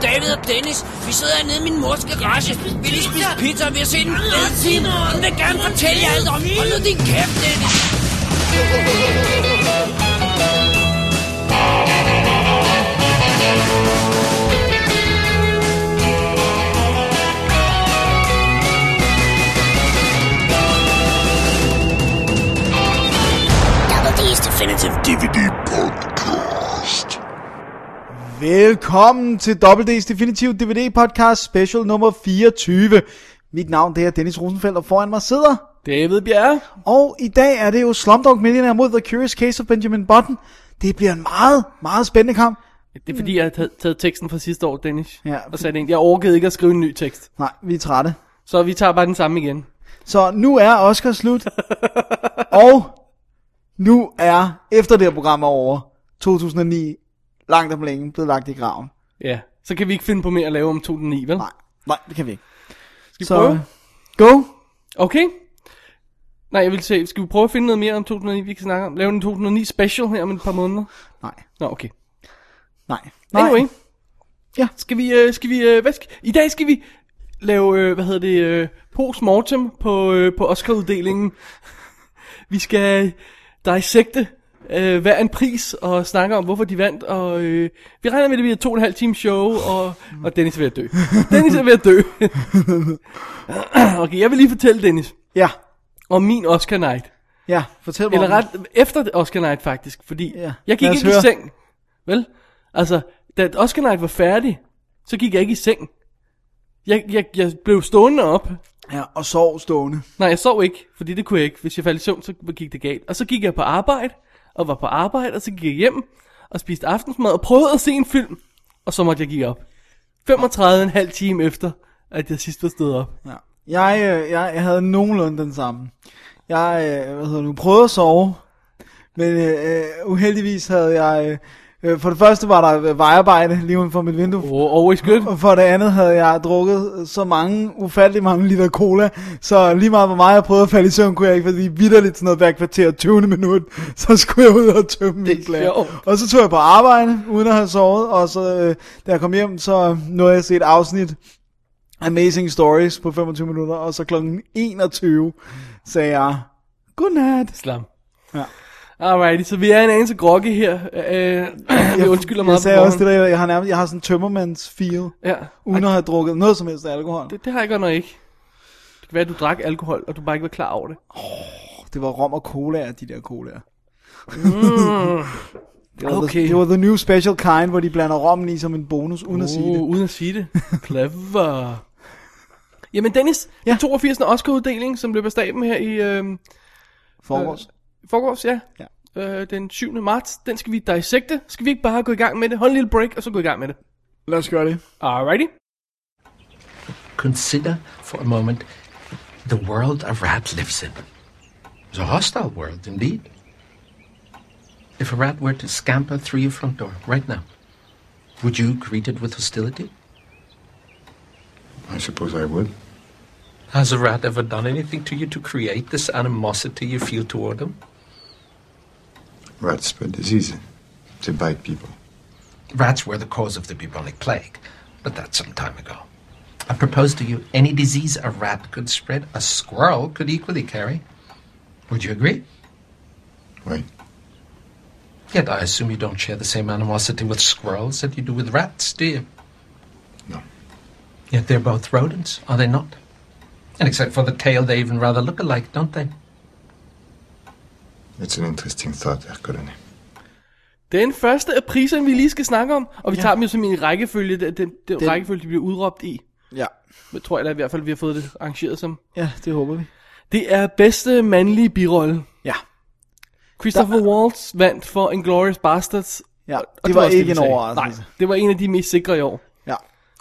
Dennis. Vi sidder hernede i min mors garage. Vi lige spise pizza, og vi har set en fed film. Hun vil gerne fortælle jer alt om. Hold nu din kæft, Dennis. Double D's Definitive DVD Podcast. Velkommen til WD's Definitive DVD Podcast Special nummer 24. Mit navn det er Dennis Rosenfeldt, og foran mig sidder... David Bjerre. Og i dag er det jo Slumdog Millionaire mod The Curious Case of Benjamin Button. Det bliver en meget, meget spændende kamp. Det er fordi, jeg har taget, taget teksten fra sidste år, Dennis. Mm. Ja. Og sat ind. Jeg orkede ikke at skrive en ny tekst. Nej, vi er trætte. Så vi tager bare den samme igen. Så nu er Oscar slut. og nu er, efter det her program er over, 2009 langt om længe blevet lagt i graven. Ja. Så kan vi ikke finde på mere at lave om 2009, vel? Nej, nej, det kan vi ikke. øh, Skal vi prøve? Go! Okay. Nej, jeg vil se. Skal vi prøve at finde noget mere om 2009, vi kan snakke om? Lave en 2009 special her om et par måneder? Nej, Nå, okay. nej, nej. Anyway. Ja. Skal vi, øh, skal vi, øh, hvad skal, i dag skal vi lave, øh, hvad hedder det, øh, postmortem på, øh, på Oscar-uddelingen. Vi skal dissekte øh, hver en pris og snakke om, hvorfor de vandt, og øh, vi regner med, at det bliver et to og en halv time show, og, og Dennis er ved at dø. Dennis er ved at dø. okay, jeg vil lige fortælle Dennis Ja, om min Oscar night. ja, fortæl mig om Eller den. ret efter Oscar Night faktisk, fordi Ja. ja. jeg gik Lad os ikke høre. i seng. Vel? Altså, da Oscar Night var færdig, så gik jeg ikke i seng. Jeg, jeg, jeg blev stående op. Ja, og sov stående. Nej, jeg sov ikke, fordi det kunne jeg ikke. Hvis jeg faldt i søvn, så gik det galt. Og så gik jeg på arbejde, og var på arbejde, og så gik jeg hjem, og spiste aftensmad, og prøvede at se en film, og så måtte jeg give op. 35 en halv time efter, at jeg sidst var stået op. Ja. Jeg, øh, jeg, jeg havde nogenlunde den samme. Jeg øh, hvad hedder nu, prøvede at sove, men øh, øh, uheldigvis havde jeg... Øh, øh, for det første var der vejarbejde lige uden for mit vindue. Oh, always good. Og for det andet havde jeg drukket så mange, ufattelig mange liter cola, så lige meget hvor meget jeg prøvede at falde i søvn, kunne jeg ikke, fordi vidderligt sådan noget hver kvarter 20. minut, så skulle jeg ud og tømme Det er mit glas. sjovt. Og så tog jeg på arbejde, uden at have sovet, og så øh, da jeg kom hjem, så nåede jeg at se et afsnit Amazing Stories på 25 minutter, og så kl. 21 sagde jeg, godnat. Slam. Ja. Alrighty, så vi er en anelse grogge her. Øh, jeg undskylder Jeg meget sagde også det der, jeg har, nærmest, jeg har sådan en tømmermands feel, Ja, uden at have drukket noget som helst af alkohol. det, det har jeg godt nok ikke. Det kan være, at du drak alkohol, og du bare ikke var klar over det. Det var rom og cola, de der colaer. det, var the, Okay. det var the new special kind, hvor de blander rommen i som en bonus, uden at sige det. Uh, uden at sige det. Clever. Jamen Dennis, Ja. ja. 82. Oscar-uddeling, som løber af staben her i øh, Forårs. forgårs, ja. Ja. Øh, den 7. marts, den skal vi dissekte. Skal vi ikke bare gå i gang med det? Hold en lille break, og så gå i gang med det. Lad os gøre det. Alrighty. Consider for a moment the world a rat lives in. It's a hostile world, indeed. If a rat were to scamper through your front door right now, would you greet it with hostility? I suppose I would. Has a rat ever done anything to you to create this animosity you feel toward them? Rats spread disease. They bite people. Rats were the cause of the bubonic plague, but that's some time ago. I propose to you any disease a rat could spread, a squirrel could equally carry. Would you agree? Right? Yet I assume you don't share the same animosity with squirrels that you do with rats, do you? No. Yet they're both rodents, are they not? And except for the tail, they even rather look alike, don't they? It's an interesting thought, Erkolani. Den første af priserne, vi lige skal snakke om, og vi ja. tager dem jo som i en rækkefølge, den, den, den, den rækkefølge, de bliver udråbt i. Ja. Det tror jeg da i hvert fald, vi har fået det arrangeret som. Ja, det håber vi. Det er bedste mandlige birolle. Ja. Christopher der... Waltz vandt for Inglourious Bastards. Ja, og- og det var også ikke vi en sagde. overraskelse. Nej, det var en af de mest sikre i år. Ja.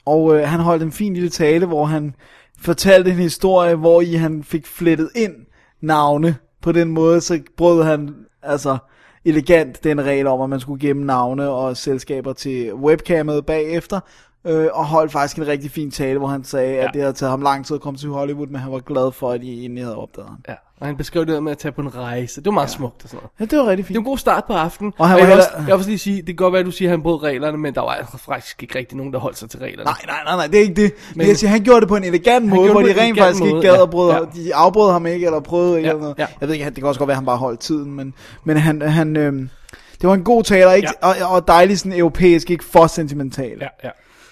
Og øh, han holdt en fin lille tale, hvor han fortalte en historie, hvor i han fik flettet ind navne. På den måde, så brød han altså elegant den regel om, at man skulle gemme navne og selskaber til webcammet bagefter. Øh, og holdt faktisk en rigtig fin tale, hvor han sagde, ja. at det havde taget ham lang tid at komme til Hollywood, men han var glad for, at de egentlig havde opdaget ham. Ja. Og han beskrev det der med at tage på en rejse. Det var meget ja. smukt og sådan noget. Ja, det var rigtig Det fint. var en god start på aftenen. Og han jeg, var vil også, heller- jeg vil også lige sige, det kan godt være, at du siger, at han brød reglerne, men der var altså faktisk ikke rigtig nogen, der holdt sig til reglerne. Nej, nej, nej, nej, det er ikke det. Men, Men- jeg siger, han gjorde det på en elegant måde, gjorde hvor det på de en rent elegant faktisk ikke måde, gad ja, at bryde, ja. de afbrød ham ikke, eller prøvede ikke, Ja, eller noget. ja. Jeg ved ikke, han- det kan også godt være, at han bare holdt tiden, men, men han, han øh, det var en god taler, ikke? Ja. Og, og dejlig sådan europæisk, ikke for sentimental. Ja, ja.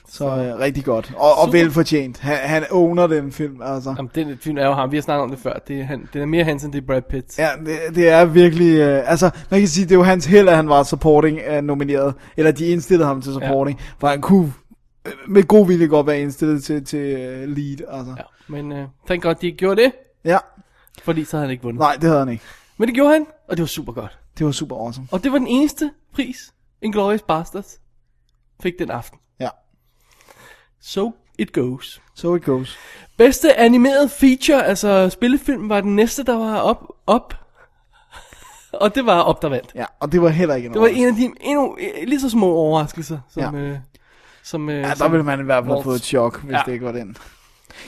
Så øh, rigtig godt, og, og Super. velfortjent. Han, han owner den film, altså. Jamen, den film er jo ham. Vi har snakket om det før. Det er, han, det er mere hans, end det er Brad Pitt. Ja, det, det er virkelig, øh, altså man kan sige, det er jo hans held, at han var supporting øh, nomineret, eller de indstillede ham til supporting, ja. for han kunne øh, med god vilje godt være indstillet til, til øh, lead, altså. Ja. Men øh, tænk godt, de ikke gjorde det, Ja. ja, fordi så havde han ikke vundet. nej, det havde han ikke. Men det gjorde han, og det var super godt. Det var super awesome. Og det var den eneste pris, Inglourious Basterds fik den aften. Ja. So it goes. So it goes. Bedste animeret feature, altså spillefilm, var den næste, der var op. op. og det var op, der vandt. Ja, og det var heller ikke en Det var overraskelse. en af de endnu, lige så små overraskelser, som... Ja. Ja. Øh, som øh, Ja, der som- ville man i hvert fald Waltz. få et chok, hvis ja. Ja. det ikke var den.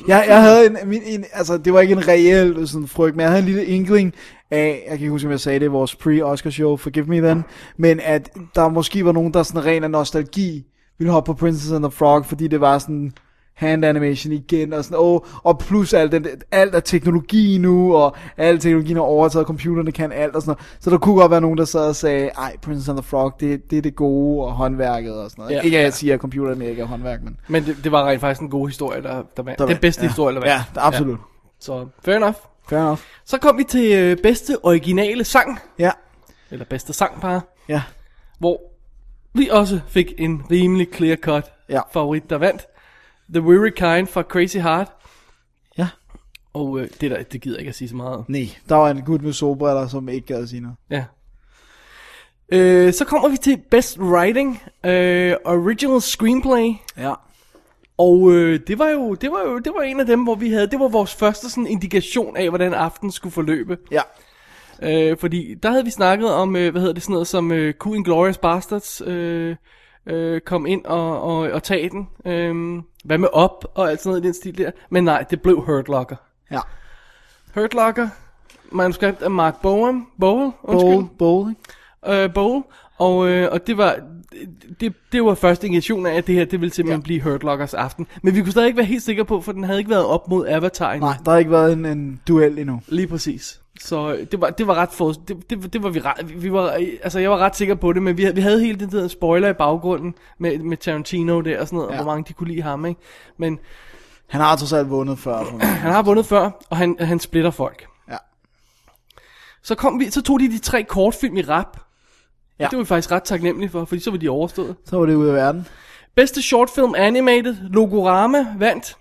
Jeg, jeg havde en, min, en, altså det var ikke en reel øh, sådan, frygt, men jeg havde en lille inkling af, jeg kan ikke huske, om jeg sagde det i vores pre-Oscar show, forgive me then, men at der måske var nogen, der sådan ren af nostalgi ville hoppe på Princess and the Frog, fordi det var sådan hand animation igen, og sådan, åh, og plus alt, den, alt er teknologi nu, og al teknologien er overtaget, computerne kan alt og sådan noget. Så der kunne godt være nogen, der sad og sagde, ej, Princess and the Frog, det, det er det gode, og håndværket og sådan noget. Ja, Ja, ikke at jeg ja. siger, at computerne ikke er håndværk, men... Men det, det var rent faktisk en god historie, der, der vandt. Den bedste ja. historie, der vandt. Ja, absolut. Ja. Så fair enough. Fair enough. Så kom vi til øh, bedste originale sang, Ja, eller bedste sangpar, ja. hvor vi også fik en rimelig clear-cut Ja. favorit, der vandt. The Weary Kind fra Crazy Heart. Ja. Og øh, det, der, det gider jeg ikke at sige så meget om. Nej, der var en gut med solbriller, som ikke gad at sige noget. Ja. Øh, så kommer vi til Best Writing, øh, Original Screenplay. Ja. Og øh, det var jo det var jo det var en af dem, hvor vi havde det var vores første sådan indikation af hvordan aftenen skulle forløbe. Ja. Øh, fordi der havde vi snakket om, øh, hvad hedder det, sådan noget som øh, Q Glorious Bastards øh, øh, kom ind og, og, og tage den. Øh, hvad med op og alt sådan noget i den stil der. Men nej, det blev Hurt Locker. Ja. Hurt Locker, manuskript af Mark Bowen, Bowen, Bowl, undskyld, bowl, ikke? øh, Bowl. Og, øh, og det var det- det, det var første indikation af, at det her det ville simpelthen ja. blive Hurt Lockers aften. Men vi kunne stadig ikke være helt sikre på, for den havde ikke været op mod Avatar endnu. Nej, der har ikke været en, en duel endnu. Lige præcis. Så øh, det var, det var ret for, det, det, det var vi ret, vi- vi var, øh, altså jeg var ret sikker på det, men vi, havde- vi havde hele den der spoiler i baggrunden med, med Tarantino der og sådan noget, ja. Ja. og hvor mange de kunne lide ham, ikke? Men Han har trods alt vundet før. på noget. han har vundet før, og han, han splitter folk. Ja. Så, kom vi, så tog de de tre kortfilm i rap. Ja. Ja. Det var vi faktisk ret taknemmelige for, fordi så var de overstået. Så var det ude af verden. Bedste shortfilm animated, Logorama vandt,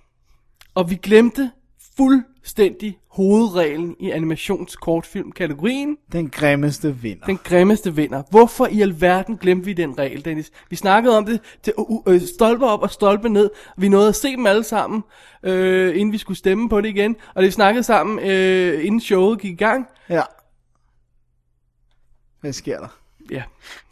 og vi glemte fuldstændig hovedreglen i animationskortfilm-kategorien. Den grimmeste vinder. Den... Den grimmeste vinder. Hvorfor i alverden glemte vi den regel, Dennis? Vi snakkede om det til uh, uh, stolpe op og stolpe ned. Vi nåede at se dem alle sammen, øh, inden vi skulle stemme på det igen. Og det vi snakkede sammen, øh, inden showet gik i gang. Ja. Hvad sker der? Ja,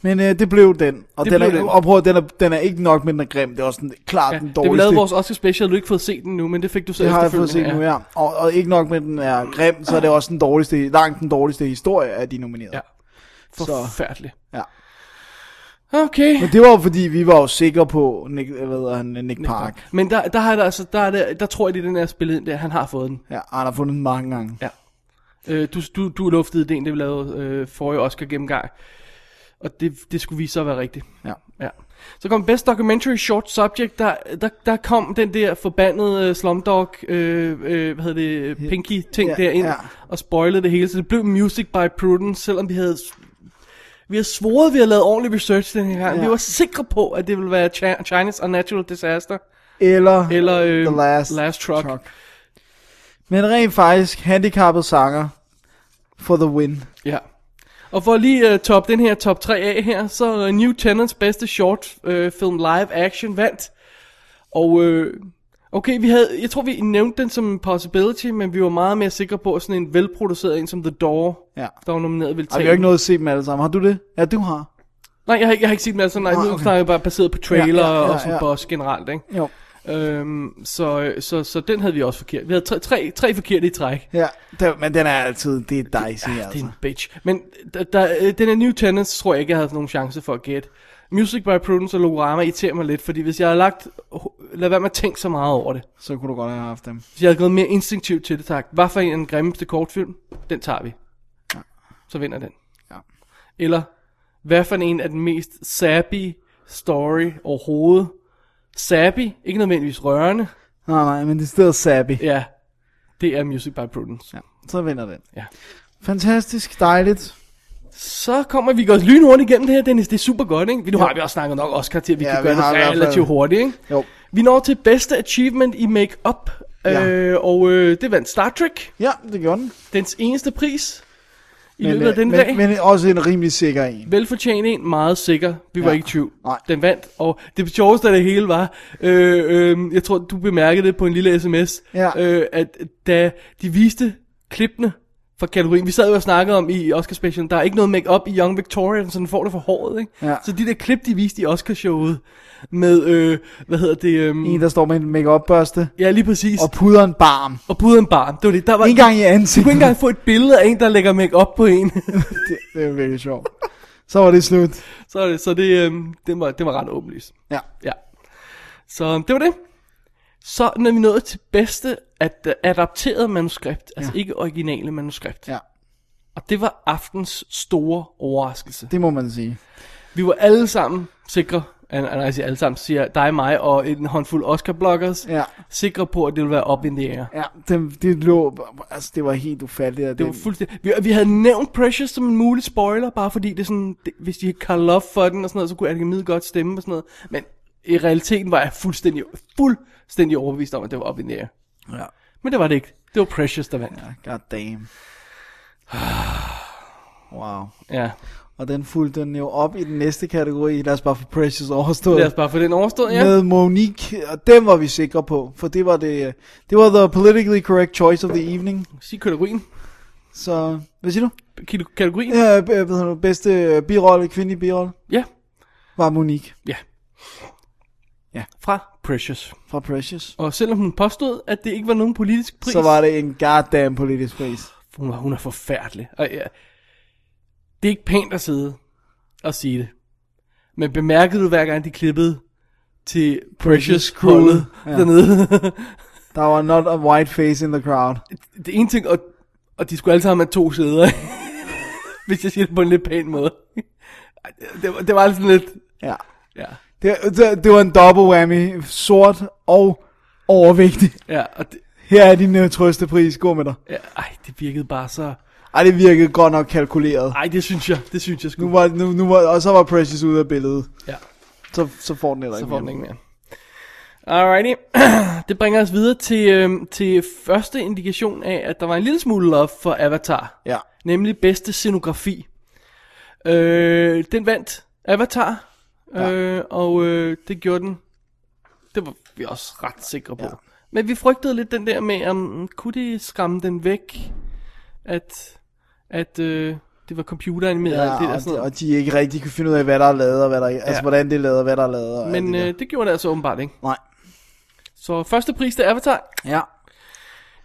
Men øh, det blev den. Og, Det den, er, blev den. og prøv, at- den, er, den er ikke nok, men den er grim. Det er også sådan, klart ja. den det vi dårligste. lavede vores Oscar special, du har ikke fået set den nu, men det fik du så det har jeg fået set efterfølgende, nu, ja. Og, og ikke nok med, at den er grim, så er det også den dårligste, langt den dårligste historie af de nominerede. Ja. Forfærdeligt. Ja. Okay. Men det var jo fordi, vi var jo sikre på Nick, hvad hedder han, Nick Park. Men der, der, har der, altså, der, er det, der tror jeg, det er den her spillet der, han har fået den. Ja, han har fundet den mange gange. Ja. Øh, du, du, du luftede det en, det vi lavede øh, forrige Oscar gennemgang. Og det, det skulle vise sig at være rigtigt. Ja. Ja. Så kom Best Documentary Short Subject, der, der, der kom den der forbandede øh, Slumdog, øh, øh, hvad hedder det, Pinky ting Ja, ja, derind, ja. ja. og spoilede det hele, så det blev Music by Prudence, selvom vi havde vi havde svoret, at vi havde lavet ordentlig research den her gang. Ja. Ja. Vi var sikre på, at det ville være Chi- Chinese Unnatural Disaster, Eller, eller øh, The Last, last Truck. truck. Men rent faktisk, handicappet sanger for the win. Ja. Og for lige uh, top den her top 3 af her, så uh, New Tenants bedste short uh, film live action vandt. Og uh, okay, vi havde, jeg tror vi nævnte den som en possibility, men vi var meget mere sikre på at sådan en velproduceret en som The Door, Ja. der var nomineret ville Og tage. vi har jo ikke noget at se dem alle sammen. Har du det? Ja, du har. den. Nej, jeg har, ikke- jeg har ikke set den altså, nej, Nej, nu Ah, okay. snakker jeg bare baseret på trailer Ja, ja, ja, og sådan ja. på os generelt, ikke? Jo. Øhm, så, så, så den havde vi også forkert. Vi havde tre, tre, tre forkerte i træk. Ja, der, men den er altid, det er dicey Ja, det er altså. en bitch. Men der, der, øh, den her New Tenants tror jeg ikke, jeg havde nogen chance for at gætte. Music by Prudence og Lorama irriterer mig lidt, fordi hvis jeg havde lagt... Lad være med at tænke så meget over det. Så kunne du godt have haft dem. Hvis jeg havde gået mere instinktivt til det, tak. Hvad for en af den grimmeste kortfilm? Den tager vi. Så vinder den. Ja. Eller, hvad for en af den mest sappy story overhovedet? Sappy, ikke nødvendigvis rørende. Nej, nej, men det er stadig sappy. Ja, det er Music by Prudence. Ja, så vinder den. Ja. Fantastisk, dejligt. Så kommer vi godt lynhurtigt igennem det her, Dennis. Det er super godt, ikke? Vi- Nu har vi også snakket nok Oscar til, at vi Ja, kan vi gøre det har i hvert fald- relativt hurtigt, ikke? Jo. Vi når til bedste achievement i make-up. Ja. Øh, og øh, det vandt Star Trek. Ja, det gjorde den. Dens eneste pris i Men, løbet af øh, den men, dag. men også en rimelig sikker en. Velfortjent en, meget sikker. Vi var Ja. ikke i tvivl. Nej. Den vandt, og det sjoveste af det hele var, øh, øh, jeg tror, du bemærkede det på en lille sms, Ja. øh, at da de viste klippene fra kategorien, vi sad jo og snakkede om i Oscar specialen, der er ikke noget make-up i Young Victoria, så den får det for håret, ikke? Ja. Så de der klip, de viste i Oscarshowet med, øh, hvad hedder det, En, øh, der står med en make børste ja lige præcis, og puder en barm. og bud en barn, det var det, der var, En gang i du kunne ansigtet. ikke engang få et billede af en, der lægger make-up på en. Det, det er virkelig sjovt. Så var det slut. så er det, så det, øh, det, var, det var ret åbenlyst. Ja. Ja. Så det var det. Så når vi nået til bedste at uh, adapteret manuskript, altså ja. ikke originale manuskript. Ja, Og det var aftens store overraskelse. det må man sige. Vi var alle sammen sikre, ah, nej, jeg siger alle sammen, siger dig, mig og en håndfuld Oscar-bloggers, Ja. sikre på, at det ville være op in the air. Ja, det, det lå... Altså, det var helt ufatteligt. at Det var fuldstændig... Vi, vi havde nævnt Precious som en mulig spoiler, bare fordi det er sådan... Det, hvis de havde Karl Love for den og sådan noget, så kunne Akademiet godt stemme og sådan noget. Men i realiteten var jeg fuldstændig, fuldstændig overbevist om, at det var op i nære. Ja. Men det var det ikke. Det var Precious, der vandt. God damn. Wow. Ja. Og den fulgte den jo op i den næste kategori. Lad os bare få Precious overstået. Lad os bare få den overstået, ja. Med Monique, og den var vi sikre på, for det var det, øh, det var the politically correct choice of the evening. Sig kategorien. Så, hvad siger du? Kilo- Kategorien. Ja. Ja, øh, hvad hedder du, bedste øh, birolle, kvindelig birolle, ja. var Monique Ja. Ja. Fra Precious. fra Precious. Og selvom hun påstod, at det ikke var nogen politisk pris, Så var det en goddamn politisk pris. Hun, er- hun er forfærdelig. Og ja, det er ikke pænt at sidde og sige det. Men bemærkede du hver gang de klippede til Precious Crewet ja. dernede? Der var not a white face in the crowd. det er en ting, og, og de skulle alle sammen have to sæder. Hvis jeg siger det på en lidt pæn måde. Ej, Det, var- det var altså sådan lidt... Ja. Ja, Det, det, det var en double whammy, sort og overvægtig. ja, og det, Her er din øh, trøstepris, gå med dig. ja, ej, det virkede bare så... Ej, det virkede godt nok kalkuleret. Ej, det synes jeg, det synes jeg sgu. Nu var, nu, nu var, og så var Precious ude af billedet. Ja. Så, så får den heller ikke Så får den mere. ikke mere. Alrighty. Det bringer os videre til, øhm, til første indikation af, at der var en lille smule love for Avatar. Ja. Nemlig bedste scenografi. Øh, den vandt Avatar. Øh, og øh, det gjorde den. Det var vi også ret sikre på. Ja. Men vi frygtede lidt den der med, om kunne det skræmme den væk, at, at øh, det var computeranimeret og alt det altså. Ja, der. og, Sådan de, og noget. de ikke rigtig kunne finde ud af, hvad der er lavet, og hvad der, ja. altså, hvordan det er lavet, og hvad der er lavet. og alt Men det der. øh, det gjorde det altså åbenbart ikke. Nej. Så første pris til Avatar. Ja.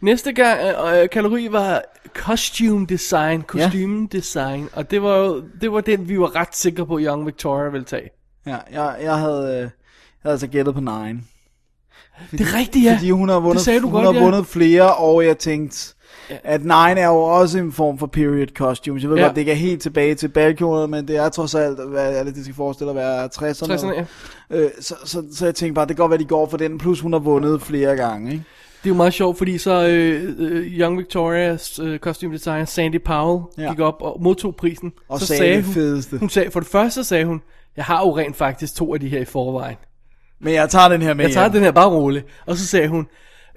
Næste gang, øh, øh, kategori var costume design, kostume design, og det var jo, det var den, vi var ret sikre på, Young Victoria ville tage. ja jeg, jeg, havde, øh, jeg havde altså gættet på Nine. Det er rigtigt, ja. Fordi hun har vundet, det sagde du hun godt, har ja. vundet flere, og jeg tænkte, at Nine er jo også en form for period costumes. Jeg ved Ja. ja. godt, det ikke er helt tilbage til balkjoner, men det er trods alt, hvad er det, det skal forestille at være 60'erne. 60'erne, ja. 60'erne, øh, så, så, så, jeg tænkte bare, det kan godt være, de går for den, plus hun har vundet flere gange. Ikke? Det er jo meget sjovt, fordi så øh, øh, Young Victorias øh, costume designer Sandy Powell ja. Ja. gik op og modtog prisen. Og så sagde det hun, fedeste. Hun sagde, for det første sagde hun, jeg har jo rent faktisk to af de her i forvejen. Men jeg tager den her med Jeg tager hjem. den her bare roligt. Og så sagde hun,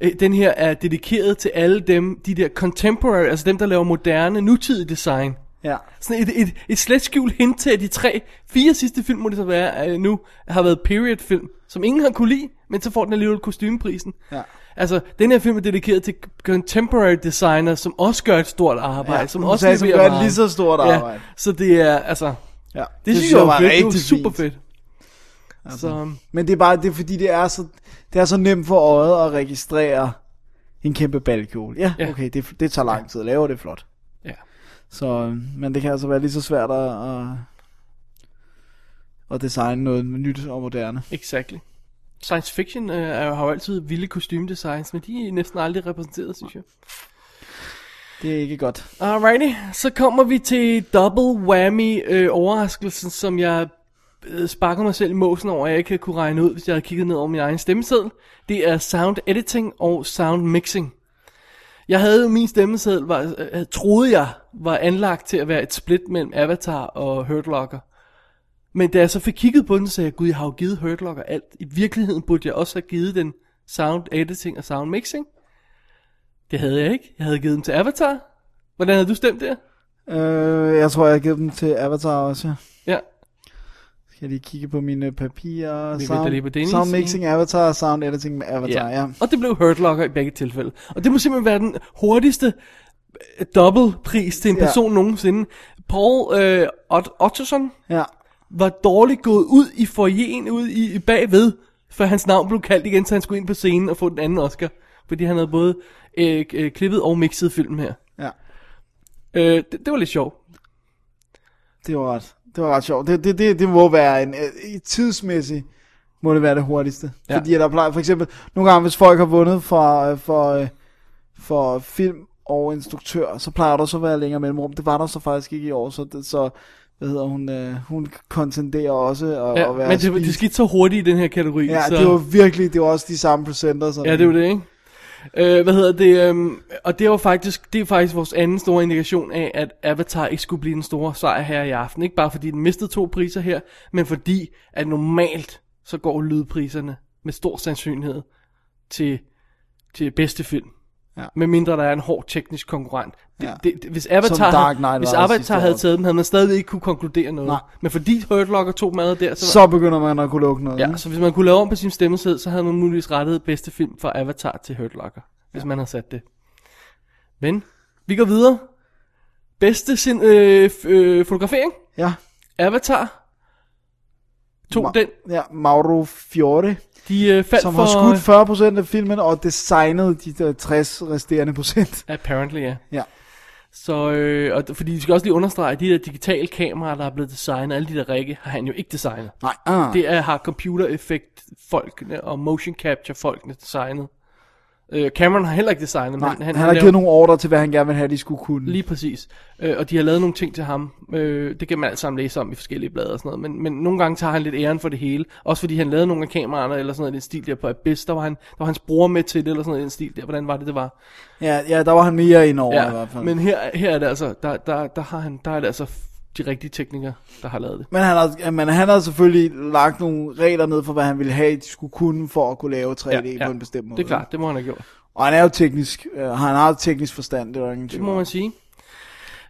"Øh, den her er dedikeret til alle dem, de der contemporary, altså dem, der laver moderne, nutidig design. Ja. Sådan et, et, et slet skjult hint til, at de tre, fire sidste film, må det så være øh, nu, har været period-film, som ingen har kunne lide, men så får den alligevel kostymeprisen. Ja. Altså, den her film er dedikeret til contemporary designer, som også gør et stort arbejde. Ja, som hun også sagde, som leverer gør et meget. lige så stort arbejde. Ja, så det er, altså, Ja. det, det synes jeg var fedt. Det var super fint. fedt. Altså. Så, um, Men det er bare, det er fordi, det er så, det er så nemt for øjet at registrere en kæmpe ballkjole. Ja, Ja. ja. okay, det, det tager lang tid at lave, og det er flot. ja. Så, øh, men det kan altså være lige så svært at, at, at designe noget nyt og moderne. Exactly. Science fiction øh, er jo- har jo altid vilde kostymedesigns, men de er næsten aldrig repræsenteret, synes jeg. Det er ikke godt. Alrighty, så kommer vi til double whammy øh, overraskelsen, som jeg øh, sparker mig selv i måsen over, at jeg ikke kunne regne ud, hvis jeg havde kigget ned over min egen stemmeseddel. Det er sound editing og sound mixing. Jeg havde jo min stemmeseddel, var, øh, troede jeg, var anlagt til at være et split mellem Avatar og Hurt Locker. Men da jeg så fik kigget på den, sagde jeg, gud, jeg har jo givet Hurt Locker alt. I virkeligheden burde jeg også have givet den sound editing og sound mixing. Det havde jeg ikke. Jeg havde givet den til Avatar. Hvordan havde du stemt der? Øh, jeg tror, jeg har givet dem til Avatar også. ja. Ja. Skal jeg lige kigge på mine papirer? Vi venter lige på Dennis. sound mixing Avatar, sound editing med Avatar, ja. ja. Og det blev Hurt Locker i begge tilfælde. Og det må simpelthen være den hurtigste øh, dobbeltpris til en Ja. person nogensinde. Paul øh, Ot- Ottosson ja. var dårligt gået ud i forjen ude i, i bagved, før hans navn blev kaldt igen, så han skulle ind på scenen og få den anden Oscar. Fordi han havde både øh, øh, klippet og mixet filmen her. Ja. Øh, det, det var lidt sjovt. Det var ret, det var ret sjovt. Det, det, det, det må være en, øh, tidsmæssigt må det være det hurtigste. Ja. Ja. Fordi at der plejer, for eksempel, nogle gange hvis folk har vundet for, øh, for, øh, for film og instruktør, så plejer der så at være længere mellemrum. Det var der så faktisk ikke i år, så, det, så hvad hedder hun, øh, hun kontenderer også at, Ja, at være men det, det spist. skete så hurtigt i den her kategori. Ja, så... det var virkelig, det var også de samme procenter. Sådan. Ja, det var det, ikke? Øh, hvad hedder det? Øhm, og det var faktisk, det er faktisk vores anden store indikation af, at Avatar ikke skulle blive den store sejr her i aften. Ikke bare fordi den mistede to priser her, men fordi, at normalt så går lydpriserne med stor sandsynlighed til, til bedste film. Ja. Med mindre der er en hård teknisk konkurrent. Det, Ja. det, det, hvis Avatar, Dark Knight havde, hvis var også sidste Avatar havde år. taget den, havde man stadig ikke kunne konkludere noget. Nej. Men fordi Hurt Locker tog mad der, så, Så begynder man at kunne lukke noget. Ja, ikke? så hvis man kunne lave om på sin stemmesæd, så havde man muligvis rettet bedste film fra Avatar til Hurt Locker, hvis man har sat det. Men, vi går videre. Bedste sin, øh, f- øh, fotografering, ja. Avatar, tog Ma- den. Ja, Mauro Fiore, De øh, faldt som for... har skudt 40% af filmen og designet de der 60 resterende procent. Apparently, ja. Ja. Så, øh, og, d- fordi vi skal også lige understrege, at de der digitale kameraer, der er blevet designet, alle de der række, har han jo ikke designet. Nej, ah. Det er, har computereffekt folkene og motion capture folkene designet. Øh, Cameron har heller ikke designet, Nej, men han, han har givet nogle ordre til, hvad han gerne vil have, de skulle kunne. Lige præcis. Øh, og de har lavet nogle ting til ham. Øh, det kan man alt sammen læse om i forskellige blade og sådan noget. Men, men nogle gange tager han lidt æren for det hele. Også fordi han lavede nogle af kameraerne eller sådan noget i den stil der på Abyss. Der var, han, der var hans bror med til det eller sådan noget i den stil der. Hvordan var det, det var? Ja, ja, der var han mere ind over ja, i hvert fald. Men, Men her, her er det altså, der, der, der, har han, der er det altså f- de rigtige teknikere, der har lavet det. men, han har, men han har selvfølgelig lagt nogle regler ned for, hvad han ville have, de skulle kunne for at kunne lave 3D ja, ja. på en bestemt måde. Det er klart, det må han have gjort. Og han er jo teknisk, øh, han har teknisk forstand, det er der ingen Det tvivl. må om. man sige.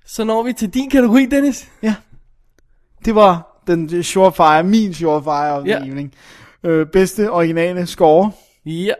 Så når vi til din kategori, Dennis. Ja. Det var den surefire, min surefire of Ja. the evening. Øh, bedste originale score, Ja.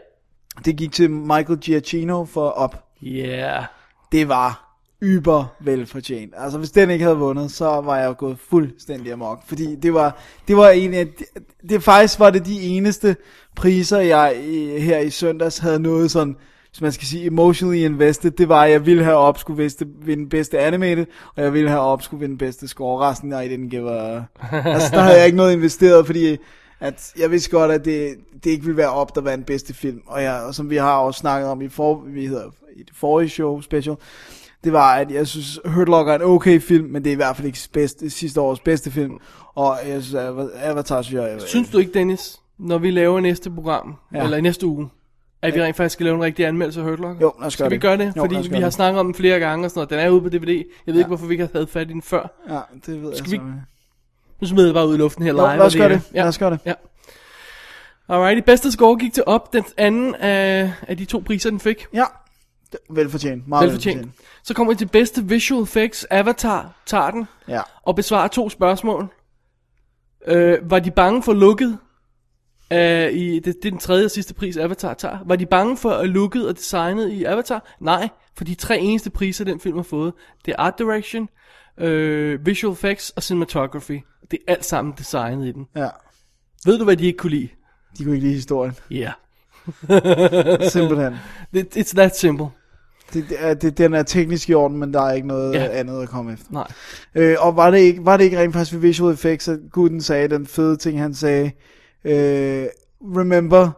det gik til Michael Giacchino for op. Ja. Det var yber velfortjent. Altså hvis den ikke havde vundet, så var jeg jo gået fuldstændig amok, fordi det var det var en af det, det faktisk var det de eneste priser jeg i, her i søndags havde noget sådan hvis man skal sige emotionally invested, det var, at jeg ville have op skulle viste, vinde bedste animated, og jeg ville have op skulle vinde bedste score. Resten, nej, den give a... Altså, der havde jeg ikke noget investeret, fordi at jeg vidste godt, at det, det ikke ville være op, der var en bedste film. Og, jeg, og som vi har også snakket om i, for, vi hedder, i det forrige show special, det var, at jeg synes, Hurt Locker er en okay film, men det er i hvert fald ikke bedste, sidste års bedste film. Og jeg synes, Ava- Avatar synes jeg... Synes du ikke, Dennis, når vi laver næste program, ja. Ja. eller i næste uge, at vi rent faktisk skal lave en rigtig anmeldelse af Hurt Locker? Jo, lad os gøre Skal vi det. gøre det? Jo, Fordi lad os vi gøre har det. snakket om den flere gange og sådan noget. Den er ude på DVD. Jeg ved ja. ikke, hvorfor vi ikke har taget fat i den før. Ja, det ved jeg Skal vi- så. ikke. Nu smider jeg bare ud i luften her Nå, live. lad os og gøre hele. det. Lad os gøre det. Ja. Alrighty, bedste score gik til op. Den anden af, af de to priser, den fik. Ja, det- velfortjent. Meget velfortjent. Velfortjent. Så kommer vi til bedste visual effects. Avatar tager den Ja. og besvarer to spørgsmål. Øh, var de bange for lukket? Øh, i, det, det er den tredje og sidste pris, Avatar tager. Var de bange for øh, lukket og designet i Avatar? Nej, for de tre eneste priser, den film har fået, det er Art Direction, øh, Visual Effects og Cinematography. Det er alt sammen designet i den. Ja. Ved du, hvad de ikke kunne lide? De kunne ikke lide historien. Ja. Yeah. Simpelthen. It, it's that simple. Det, det, er- det, den er teknisk i orden, men der er ikke noget Ja. ja. andet at komme efter. Nej. Øh, og var det, ikke, var det ikke rent faktisk ved visual effects, at Gooden sagde den fede ting, han sagde, øh, remember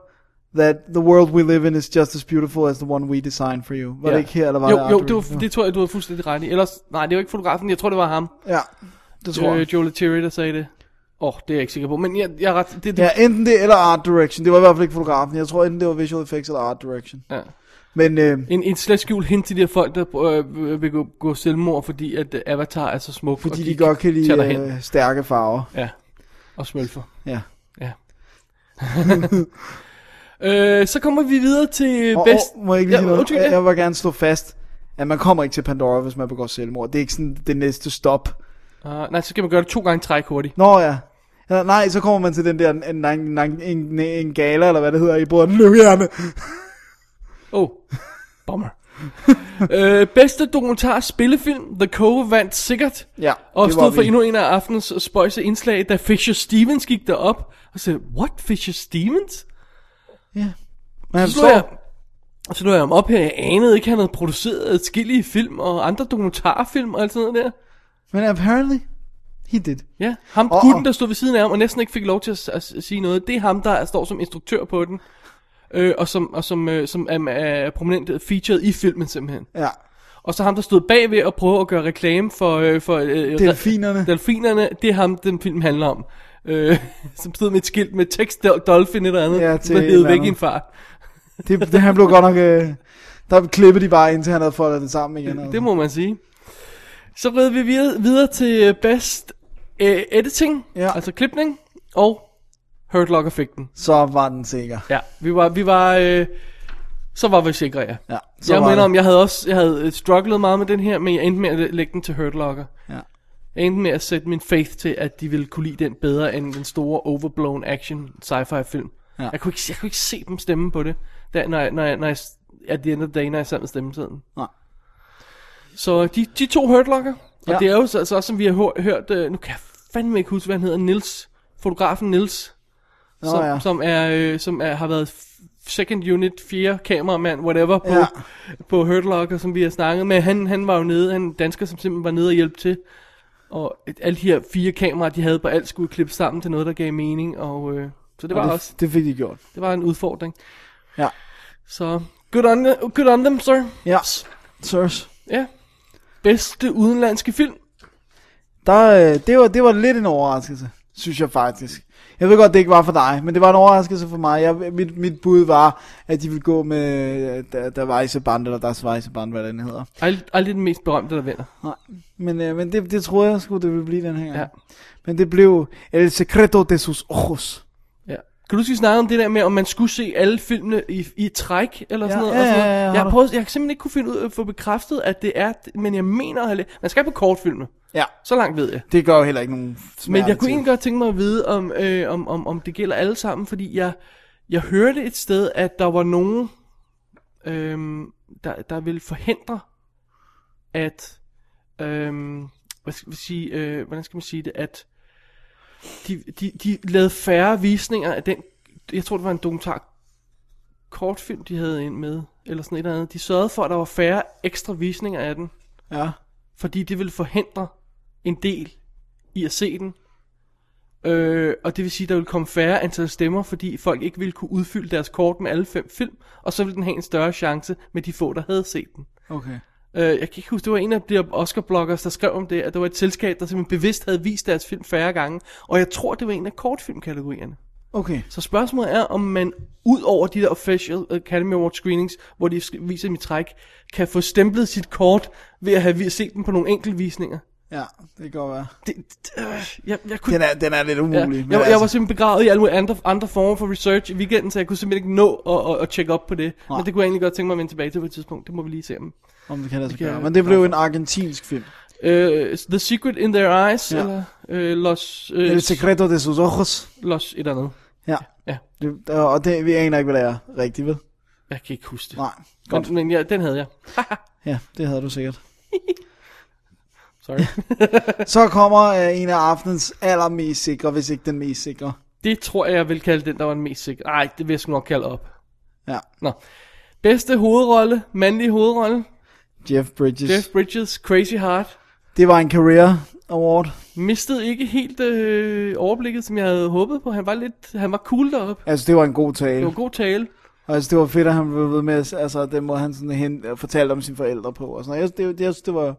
that the world we live in is just as beautiful as the one we designed for you. Var ja. det ikke her, eller var jo, det Jo, Arthur? det, var, det tror jeg, du har fuldstændig ret i. Ellers, nej, det var ikke fotografen, jeg tror, det var ham. Ja, det tror jeg. Øh, Joel Terry, der sagde det. Åh, oh, det er jeg ikke sikker på, men jeg, jeg er ret... Det, det, Ja, enten det eller art direction. Det var i hvert fald ikke fotografen. Jeg tror enten det var visual effects eller art direction. ja. Men øh, En, en slet skjult hint til de her folk, der øh, vil gå, gå selvmord, fordi at øh, Avatar er så smuk. fordi og de godt kan tager derhen. lide øh, stærke farver. Ja, og smølfer. Ja. Ja. øh, så kommer vi videre til Og, bedst... og, må jeg ikke lige ja, sige noget? undskyld, Jeg, ja. jeg vil gerne slå fast, at man kommer ikke til Pandora, hvis man begår selvmord. Det er ikke sådan det næste stop. Uh, nej, så skal man gøre det to gange træk hurtigt. Nå ja. ja nej, så kommer man til den der en, en, en, en, en gala, eller hvad det hedder, i bunden. Løvhjerne. Åh, oh. bummer. øh, bedste dokumentar spillefilm, The Cove vandt sikkert. Ja, Og det stod var for vi. endnu en af aftenens spøjse indslag, da Fisher Stevens gik derop og sagde, What, Fisher Stevens? Men han Så slog, jeg, forstår, så slog jeg ham op her, jeg anede ikke, han havde produceret adskillige film og andre dokumentarfilm og alt sådan noget der. men apparently, he did. Ja, ham Og- oh, gutten, og- der stod ved siden af ham og næsten ikke fik lov til at, s- at, s- at sige noget, det er ham, der står som instruktør på den. Øh, og som, og som, øh, som er, er prominent featured i filmen simpelthen. Ja. Og så ham, der stod bagved og prøvede at gøre reklame for... Øh, for øh, Delfinerne. Delfinerne, det er ham, den film handler om. Øh, som stod med et skilt med tekst Dol- Dolphin eller andet. Ja, til men et led eller væk i andet. en fart. Det, det, han blev godt nok... Øh, der klippede de bare, indtil han havde foldet det sammen igen. Det må man sige. Så rider vi videre, videre til øh, best øh, editing, Ja. altså klipning, og Hurt Locker-effekten. Så var den sikker. Ja, vi var... Vi var øh, så var vi sikre, ja. Ja, så Så jeg var mener det. om, jeg havde også jeg havde øh, strugglet meget med den her, men jeg endte med at lægge den til Hurt Locker. Ja. Jeg endte med at sætte min faith til, at de ville kunne lide den bedre end den store overblown action sci-fi film. Ja. Jeg, kunne ikke, jeg kunne ikke se dem stemme på det, da, når, jeg- når, jeg- når jeg, at the end of the day, når jeg sad med stemmetiden. Nej. Så de, de to Hurt Locker, og Ja. det er jo så, altså også, som vi har hør, hørt, øh, nu kan jeg fandme ikke huske, hvad han hedder, Nils, fotografen Nils, Nå, som, ja. som, er, øh, som er, har været f- second unit, fjerde kameramand, whatever, på, ja. Ja. på Hurt Locker, som vi har snakket med. Han, han var jo nede, han er en dansker, som simpelthen var nede og hjælpe til. Og et- alle de her fire kameraer, de havde på alt, skulle klippe sammen til noget, der gav mening. Og, øh, så det var Og det... også, det, det fik de gjort. det var en udfordring. Ja. Så, good on, the- good on them, sir. Ja, sirs. Ja. Bedste udenlandske film. Der, øh, det, var, det var lidt en overraskelse, synes jeg faktisk. Jeg ved godt, det ikke var for dig, men det var en overraskelse for mig. Jeg, mit, mit bud var, at de ville gå med øh, der, der Weisseband, eller deres Weisseband, hvad den hedder. Ald- aldrig den mest berømte, der vinder. Nej, men, øh, men det, det troede jeg skulle det ville blive den her gang. Ja. Ja. Men det blev El Secreto de sus ojos. Ja. Kan du huske, vi snakkede om det der med, om man skulle se alle filmene i, i træk, eller sådan Ja, noget? ja, og sådan ja, noget. ja, jeg, har har du- prøvet, jeg har simpelthen ikke kunne finde ud af at få bekræftet, at det er, men jeg mener, at have læ- man skal på kortfilmene. Ja, Så langt ved jeg. det gør jo heller ikke nogen smerte Men jeg kunne til. egentlig godt tænke mig at vide, om, øh, om, om, om det gælder alle sammen, fordi jeg, jeg hørte et sted, at der var nogen, øh, der, der ville forhindre, at, øh, hvad skal vi sige, øh, hvordan skal man sige det, at de, de, de lavede færre visninger af den, jeg tror det var en dokumentar, kortfilm de havde ind med, eller sådan et eller andet. De sørgede for, at der var færre ekstra visninger af den Ja, fordi det vil forhindre en del i at se den. Øh, og det vil sige, at der vil komme færre antal stemmer, fordi folk ikke ville kunne udfylde deres kort med alle fem film, og så ville den have en større chance med de få, der havde set den. okay. Øh, jeg kan ikke huske, det var en af de Oscar-bloggers, der skrev om det, at det var et selskab, der simpelthen bevidst havde vist deres film færre gange, og jeg tror, det var en af kortfilmkategorierne. Okay, Så spørgsmålet er, om man ud over de der official Academy Award screenings, hvor de sk- viser dem i træk, kan få stemplet sit kort ved at have vi- set dem på nogle enkeltvisninger. ja, det kan godt være. Det, det, øh, jeg, jeg kunne... Den er, den er lidt Ja, umulig. jeg, men jeg, jeg altså- var simpelthen begravet i alle mulige andre, andre former for research i weekenden, så jeg kunne simpelthen ikke nå at, at, at tjekke op på det. Men det kunne jeg egentlig godt tænke mig at vende tilbage til på et tidspunkt. Det må vi lige se om. Om det kan lade sig Det kan gøre. jeg- Men det blev en argentinsk film. Øh, the Secret in Their Eyes, ja. Ja. eller øh, Los... Øh, El Secreto de sus ojos. Los et eller andet. Ja. Ja. Det, og det, vi aner ikke, hvad det er rigtigt, vel? Jeg kan ikke huske det. Nej. men, men ja, den havde jeg. Ja, det havde du sikkert. Sorry. Så kommer øh, en af aftenens allermest sikre, hvis ikke den mest sikre. Det tror jeg, jeg vil kalde den, der var den mest sikre. Nej, det vil jeg sgu nok kalde op. Ja. Nå. Bedste hovedrolle, mandlig hovedrolle. Jeff Bridges. Jeff Bridges, Crazy Heart. Det var en career award. Mistede ikke helt øh, overblikket, som jeg havde håbet på. Han var lidt, han var cool deroppe. Altså, det var en god tale. Det var god tale. Altså, det var fedt, at han blev ved med, at- altså, den måde, han sådan hen, øh, fortalte om sine forældre på, og sådan noget. Jeg, det, jeg synes, det var,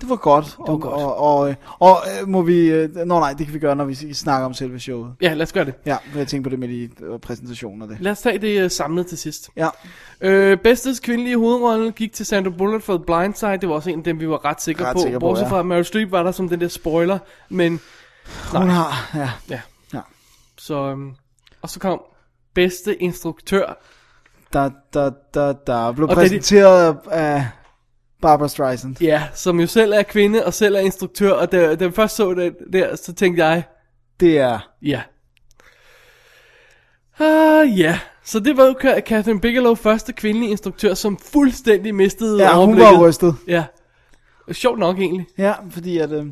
det var godt. Det var og, godt. Og, og, øh, og, øh, må vi, øh, nå nej, det kan vi gøre, når vi s- snakker om selve showet. Ja, lad os gøre det. Ja, for jeg tænkte på det med de øh, præsentationer og det. Lad os tage det øh, samlet til sidst. Ja, Øh, bedstes kvindelige hovedrolle gik til Sandra Bullock for The Blind Side. Det var også en af dem, vi var ret sikre Ret på. sikre på, Bortset ja. fra, at Meryl Streep var der som den der spoiler. Men hun har, ja. så... øhm, og så kom bedste instruktør. Der, der, der, der blev det er de- og præsenteret det... af Barbara Streisand. Ja, som jo selv er kvinde og selv er instruktør. Og da, da jeg først så det der, så tænkte jeg, Det er, ja. Ah, ja. Så det var jo Ka- Catherine Bigelow, første kvindelige instruktør, som fuldstændig mistede ja, hun overblikket. var rystet. Ja. Sjovt nok egentlig. Ja, fordi at, øh,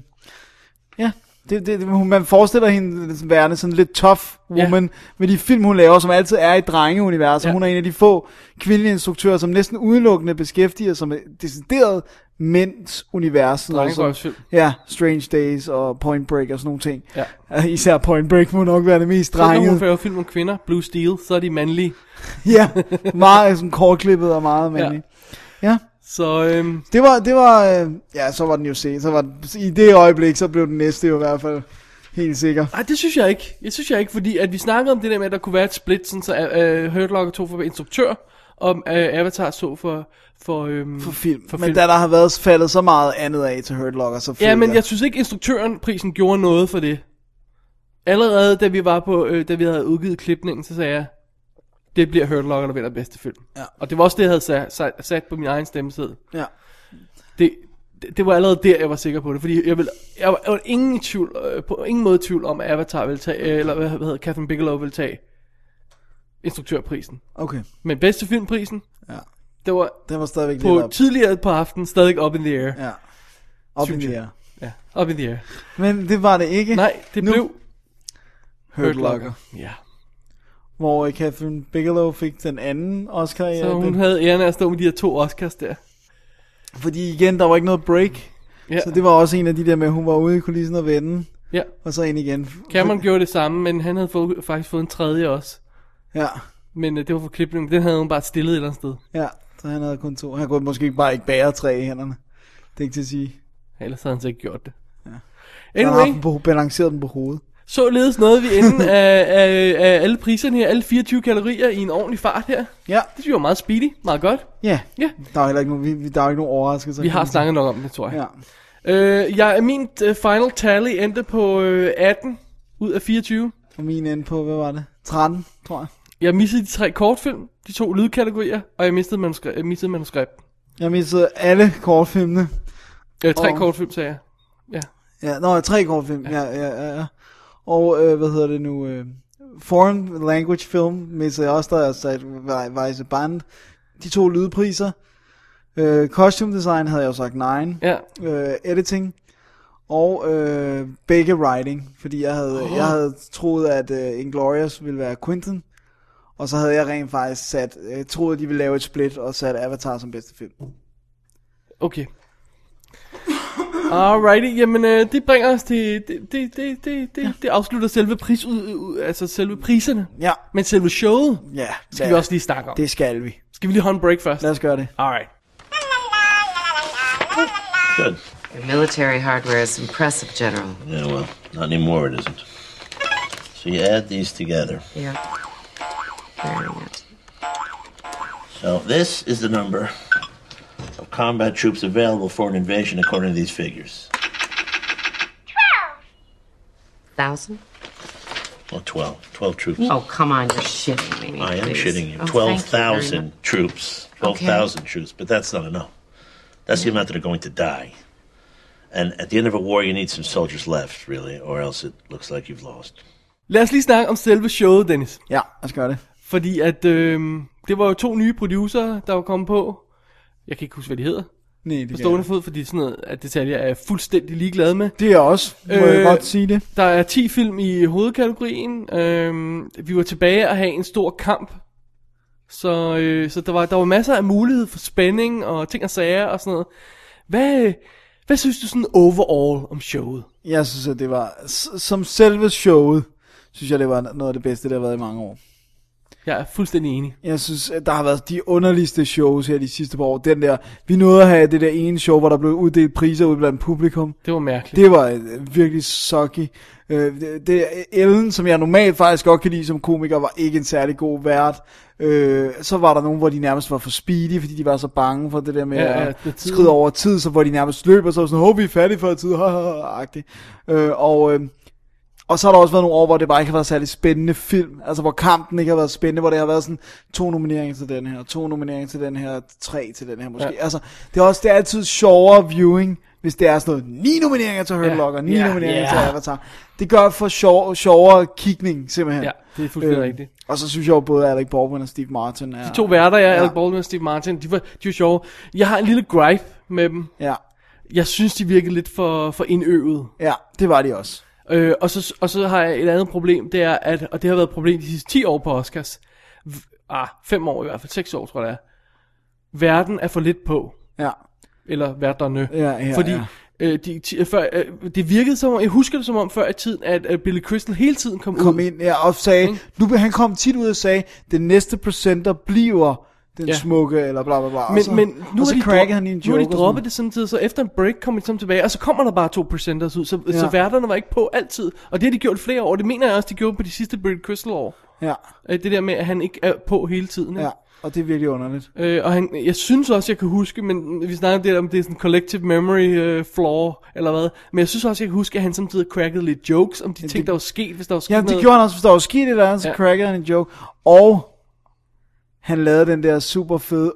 ja, det, det, det, hun- man forestiller hende som værende sådan lidt tough woman, ja. med de film, hun laver, som altid er i drengeuniverset. Ja. Ja. Hun er en af de få kvindelige instruktører, som næsten udelukkende beskæftiger sig med decideret mænds univers. og sådan- Drengerøvsfilm. Ja, Strange Days og Point Break og sådan nogle ting. Ja. Øh, Især Point Break må nok være det mest Så når hun drengede. laver film om kvinder, Blue Steel, så er de mandlige. ja, meget sådan kortklippet og meget Ja. mandlig. Ja. ja. Så øhm, Det var, det var, øh, ja, så var den jo set. Så var den, I det øjeblik, så blev den næste jo i hvert fald helt sikker. ej, det synes jeg ikke. Jeg synes jeg ikke, fordi at vi snakkede om det der med, at der kunne være et split, sådan så øh, Hurt Locker tog for instruktør, og øh, Avatar så for... for, øhm, for film. For For men film. film. da der har været faldet så meget andet af til Hurt Locker, så føler ja, men jeg synes ikke, instruktøren prisen gjorde noget for det. Allerede da vi var på, øh, da vi havde udgivet klipningen, så sagde jeg, det bliver Hurt Locker, der vinder bedste film. Ja. Og det var også det, jeg havde sat, sat, sat på min egen stemmeseddel. Ja. det, det, det var allerede der, jeg var sikker på det, fordi jeg, ville, jeg, var, jeg var ingen i tvivl, øh, på ingen måde i tvivl om, at Avatar ville tage, øh, eller hvad, hvad hedder Catherine Bigelow ville tage instruktørprisen. Okay, Men bedste filmprisen, Ja. det var den var stadigvæk lidt på op. tidligere på aftenen stadig up in the air. Ja. Op i synes det jeg. her. Ja, up in the air. Men det var det ikke. Nej, det Nu- blev Hurt Locker. Ja, Hvor øh, Catherine Bigelow fik den anden Oscar. så Ja, hun den, havde æren af at stå med de her to Oscars der. Fordi igen, der var ikke noget break. Ja, Så det var også en af de der med, at hun var ude i kulissen og vende. ja. Og så ind igen. Cameron gjorde det samme, men han havde fået, faktisk fået en tredje også. Ja, Men øh, det var for klipning, den havde hun bare stillet et eller andet sted. ja. Så han havde kun to. Han kunne måske bare ikke bære tre i hænderne. Det er ikke til at sige. Ellers havde han så ikke gjort det. Ja. Han har Anyway, haft den på, balanceret den på hovedet. Således nåede vi enden af, af, af alle priserne her, alle 24 kalorier i en ordentlig fart her. Ja, Det synes jeg var meget speedy, meget godt. ja. Ja. Der er heller ikke nogen, vi- vi, der er ikke nogen overraskelser. Vi har kan man sige. snakket nok om det, tror jeg. Ja. Øh, jeg min øh, final tally endte på øh, 18 ud af 24. Og min ende på, hvad var det? 13, tror jeg. Jeg missede de tre kortfilm, de to lydkategorier, og jeg mistede, manuskri- jeg mistede manuskript. Jeg missede alle kortfilmene. Øh, tre Og- kortfilm, sagde jeg. Ja, nå, tre kortfilm. Ja, ja, ja. ja. Og, øh, hvad hedder det nu? Øh, foreign language film missede jeg også, der er sat Ve- Weisse Band. De to lydpriser. Øh, costume design havde jeg jo sagt 9. Ja, Øh, editing. Og øh, begge writing, fordi jeg havde, oh. jeg havde troet, at øh, Inglourious ville være Quentin. Og så havde jeg rent faktisk sat, øh, troet, at de ville lave et split og sat Avatar som bedste film. okay. Alrighty, jamen øh, det bringer os til, det, det, det, det, det, det afslutter selve, pris, ud, ud, altså selve priserne. Ja, Men selve showet, ja. skal vi også lige snakke om. Det skal vi. Skal vi lige holde en break først? Lad os gøre det. Alright. Your military hardware is impressive, General. Yeah, well, not anymore, it isn't. So you add these together. Yeah. Very good. So this is the number of combat troops available for an invasion according to these figures. Thousand? Well, 12. 12 troops. Oh, come on, you're shitting me. I am please. shitting you. Oh, thank very 12,000 much. troops. 12,000 troops, but that's not enough. That's the amount that are going to die. And at the end of a war, you need some soldiers left, really, or else it looks like you've lost. Lad os lige snakke om selve showet, Dennis. øhm, Ja, lad os gøre det. Fordi at øh, det var jo to nye producer, der var kommet på. Jeg kan ikke huske, hvad de hedder. Nej, det på kan stående jeg fod, fordi sådan noget at detaljer er jeg fuldstændig ligeglad med. ikke. Det er også, må øh... jeg Øh, godt sige det. Der er 10 film i hovedkategorien. Øhm, vi var tilbage og have en stor kamp. Så, øh, så der, var, der var masser af mulighed for spænding og ting og sager og sådan noget. Hvad, øh, hvad synes du sådan overall om showet? Jeg synes, at det var, s- som selve showet, synes jeg, det var noget af det bedste, der har været i mange år. Jeg er fuldstændig enig. Jeg synes, at der har været de underligste shows her de sidste par år. Den der, vi nåede at have det der ene show, hvor der blev uddelt priser ud blandt publikum. Det var mærkeligt. Det var øh, virkelig sucky. Øh, det, det, Ellen, som jeg normalt faktisk godt kan lide som komiker, var ikke en særlig god vært. Øh, så var der nogen, hvor de nærmest var for speedy, fordi de var så bange for det der med Ja, ja, at med tiden. skride over tid, så hvor de nærmest løber, så var sådan, håber vi er færdige før tid, agtigt. Øh, og, øh, og så har der også været nogle år, hvor det bare ikke har været særlig spændende film, altså hvor kampen ikke har været spændende, hvor det har været sådan to nomineringer til den her, to nomineringer til den her, tre til den her måske. Ja. Altså, det er også det er altid sjovere viewing, hvis det er sådan noget, ni nomineringer til Hurt Ja. Locker, ni Ja, nomineringer ja. til Avatar. Det gør for sjov, sjovere kigning, simpelthen. Øhm, Ja, det er fuldstændig rigtigt. Og så synes jeg jo både Alec Baldwin og Steve Martin er... De to værter, jeg, Ja. ja. Alec Baldwin og Steve Martin, de var, de var sjove. Jeg har en lille gripe med dem. Ja, Jeg synes, de virkede lidt for, for indøvet. ja, det var de også. Øh, og, så, og så har jeg et andet problem, det er, at, og det har været et problem de sidste 10 år på Oscars, v- ah, 5 år i hvert fald, 6 år tror jeg det er, verden er for lidt på, Ja, eller værterne. Ja, ja, fordi ja. Øh, de, ti- øh, før, øh, det virkede som om, jeg husker det som om før i tiden, at øh, Billy Crystal hele tiden kom, kom ud. ind ja, og sagde, Ikke? nu, han kom tit ud og sagde, den næste presenter bliver den Ja. smukke, eller bla bla bla. og Men, så, men nu og har så de, crackede drop- han i en nu joke. og har de sådan droppet det samtidig, så efter en break kommer de sammen tilbage, og så kommer der bare to presenters ud, så, ja. så Ja. værterne var ikke på altid. Og det har de gjort flere år, det mener jeg også, de gjorde på de sidste Billy Crystal år. noget. Øh, Det der med, at han ikke er på hele tiden. Ja, ikke? ja, og det er virkelig underligt. Øh, og han, jeg synes også, jeg kan huske, men vi snakker lidt om, det er sådan collective memory øh, flaw, eller hvad. Men jeg synes også, jeg kan huske, at han samtidig crackede lidt jokes om de ting, der var sket, hvis der var sket Ja, noget. det gjorde han også, hvis der var skidt eller andet, så Ja. crackede han en joke. Og han lavede den der super fede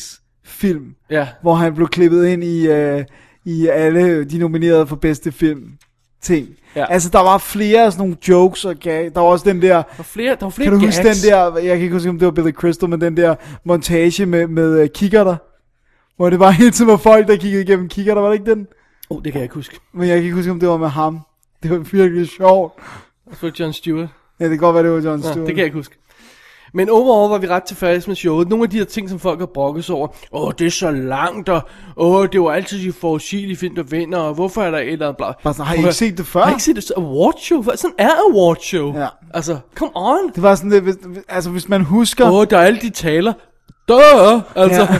åbningsfilm, Ja. hvor han blev klippet ind i, øh, i alle de nominerede for bedste film ting. Ja. Altså, der var flere af sådan nogle jokes og gag. Der var også den der, Der var flere, der var flere Kan du gags. huske den der, jeg kan ikke huske, om det var Billy Crystal, men den der montage med, med øh, kikkerter? Hvor det bare hele tiden var folk, der kiggede igennem kikkerter, var det ikke den? Oh, det kan jeg ikke huske. Men jeg kan ikke huske, om det var med ham. Det var virkelig sjovt. Det var John Stewart. Ja, det kan godt være, det var John Nå, Stewart. det kan jeg ikke huske. Men overall var vi ret tilfredse med showet. Nogle af de her ting, som folk har brokket sig over. Åh, det er så langt, og åh, det var altid de forudsigelige film, der vinder, og hvorfor er der et eller andet bla. Bare sådan, har I Prøv at- ikke set det før? Har I ikke set det? Så Award show? Hvad- Sådan er award show. Ja. Altså, come on. Det var sådan lidt, hvis, hvis- altså hvis man husker, Åh, oh, oh, der er alle de taler. Dør! Altså, ja.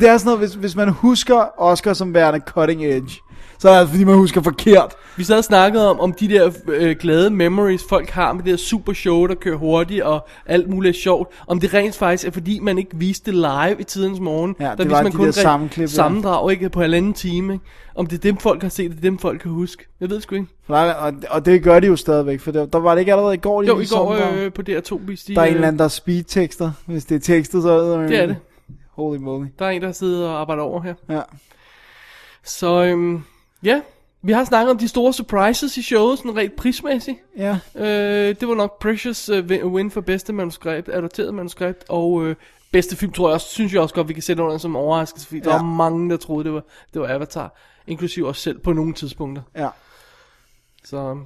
det er sådan noget, hvis, hvis man husker Oscar som værende cutting edge, så er det altså, fordi man husker forkert. vi sad og snakkede om, om de der øh, glade memories, folk har med det der super show, der kører hurtigt og alt muligt sjovt. Om det rent faktisk er, fordi man ikke viste det live i tidens morgen. Ja, det viste var man de der re- sammenklip, ja. Sammendrag, ikke? På halvanden time, ikke? Om det er dem, folk har set, det er dem, folk kan huske. Jeg ved det sgu ikke. For der er- Og, og det gør de jo stadigvæk, for der, der var det ikke allerede i går, de Jo, i viste går sammendrag? øh, på DR2 viste de, Der er en øh, eller anden, der er speedtekster. Hvis det er tekstet, så er det... Det er det. Holy moly. Der er en, der sidder og arbejder over her. Ja. Så øhm, ja, vi har snakket om de store surprises i showet, sådan rent prismæssigt. Ja. Øh, det var nok Precious uh, win for bedste manuskript, adopteret manuskript, og øh, bedste film, tror jeg også, synes jeg også godt, vi kan sætte under som overraskelse, fordi ja. der Ja. var mange, der troede, det var, det var Avatar, inklusiv os selv på nogle tidspunkter. Ja. Så, øhm,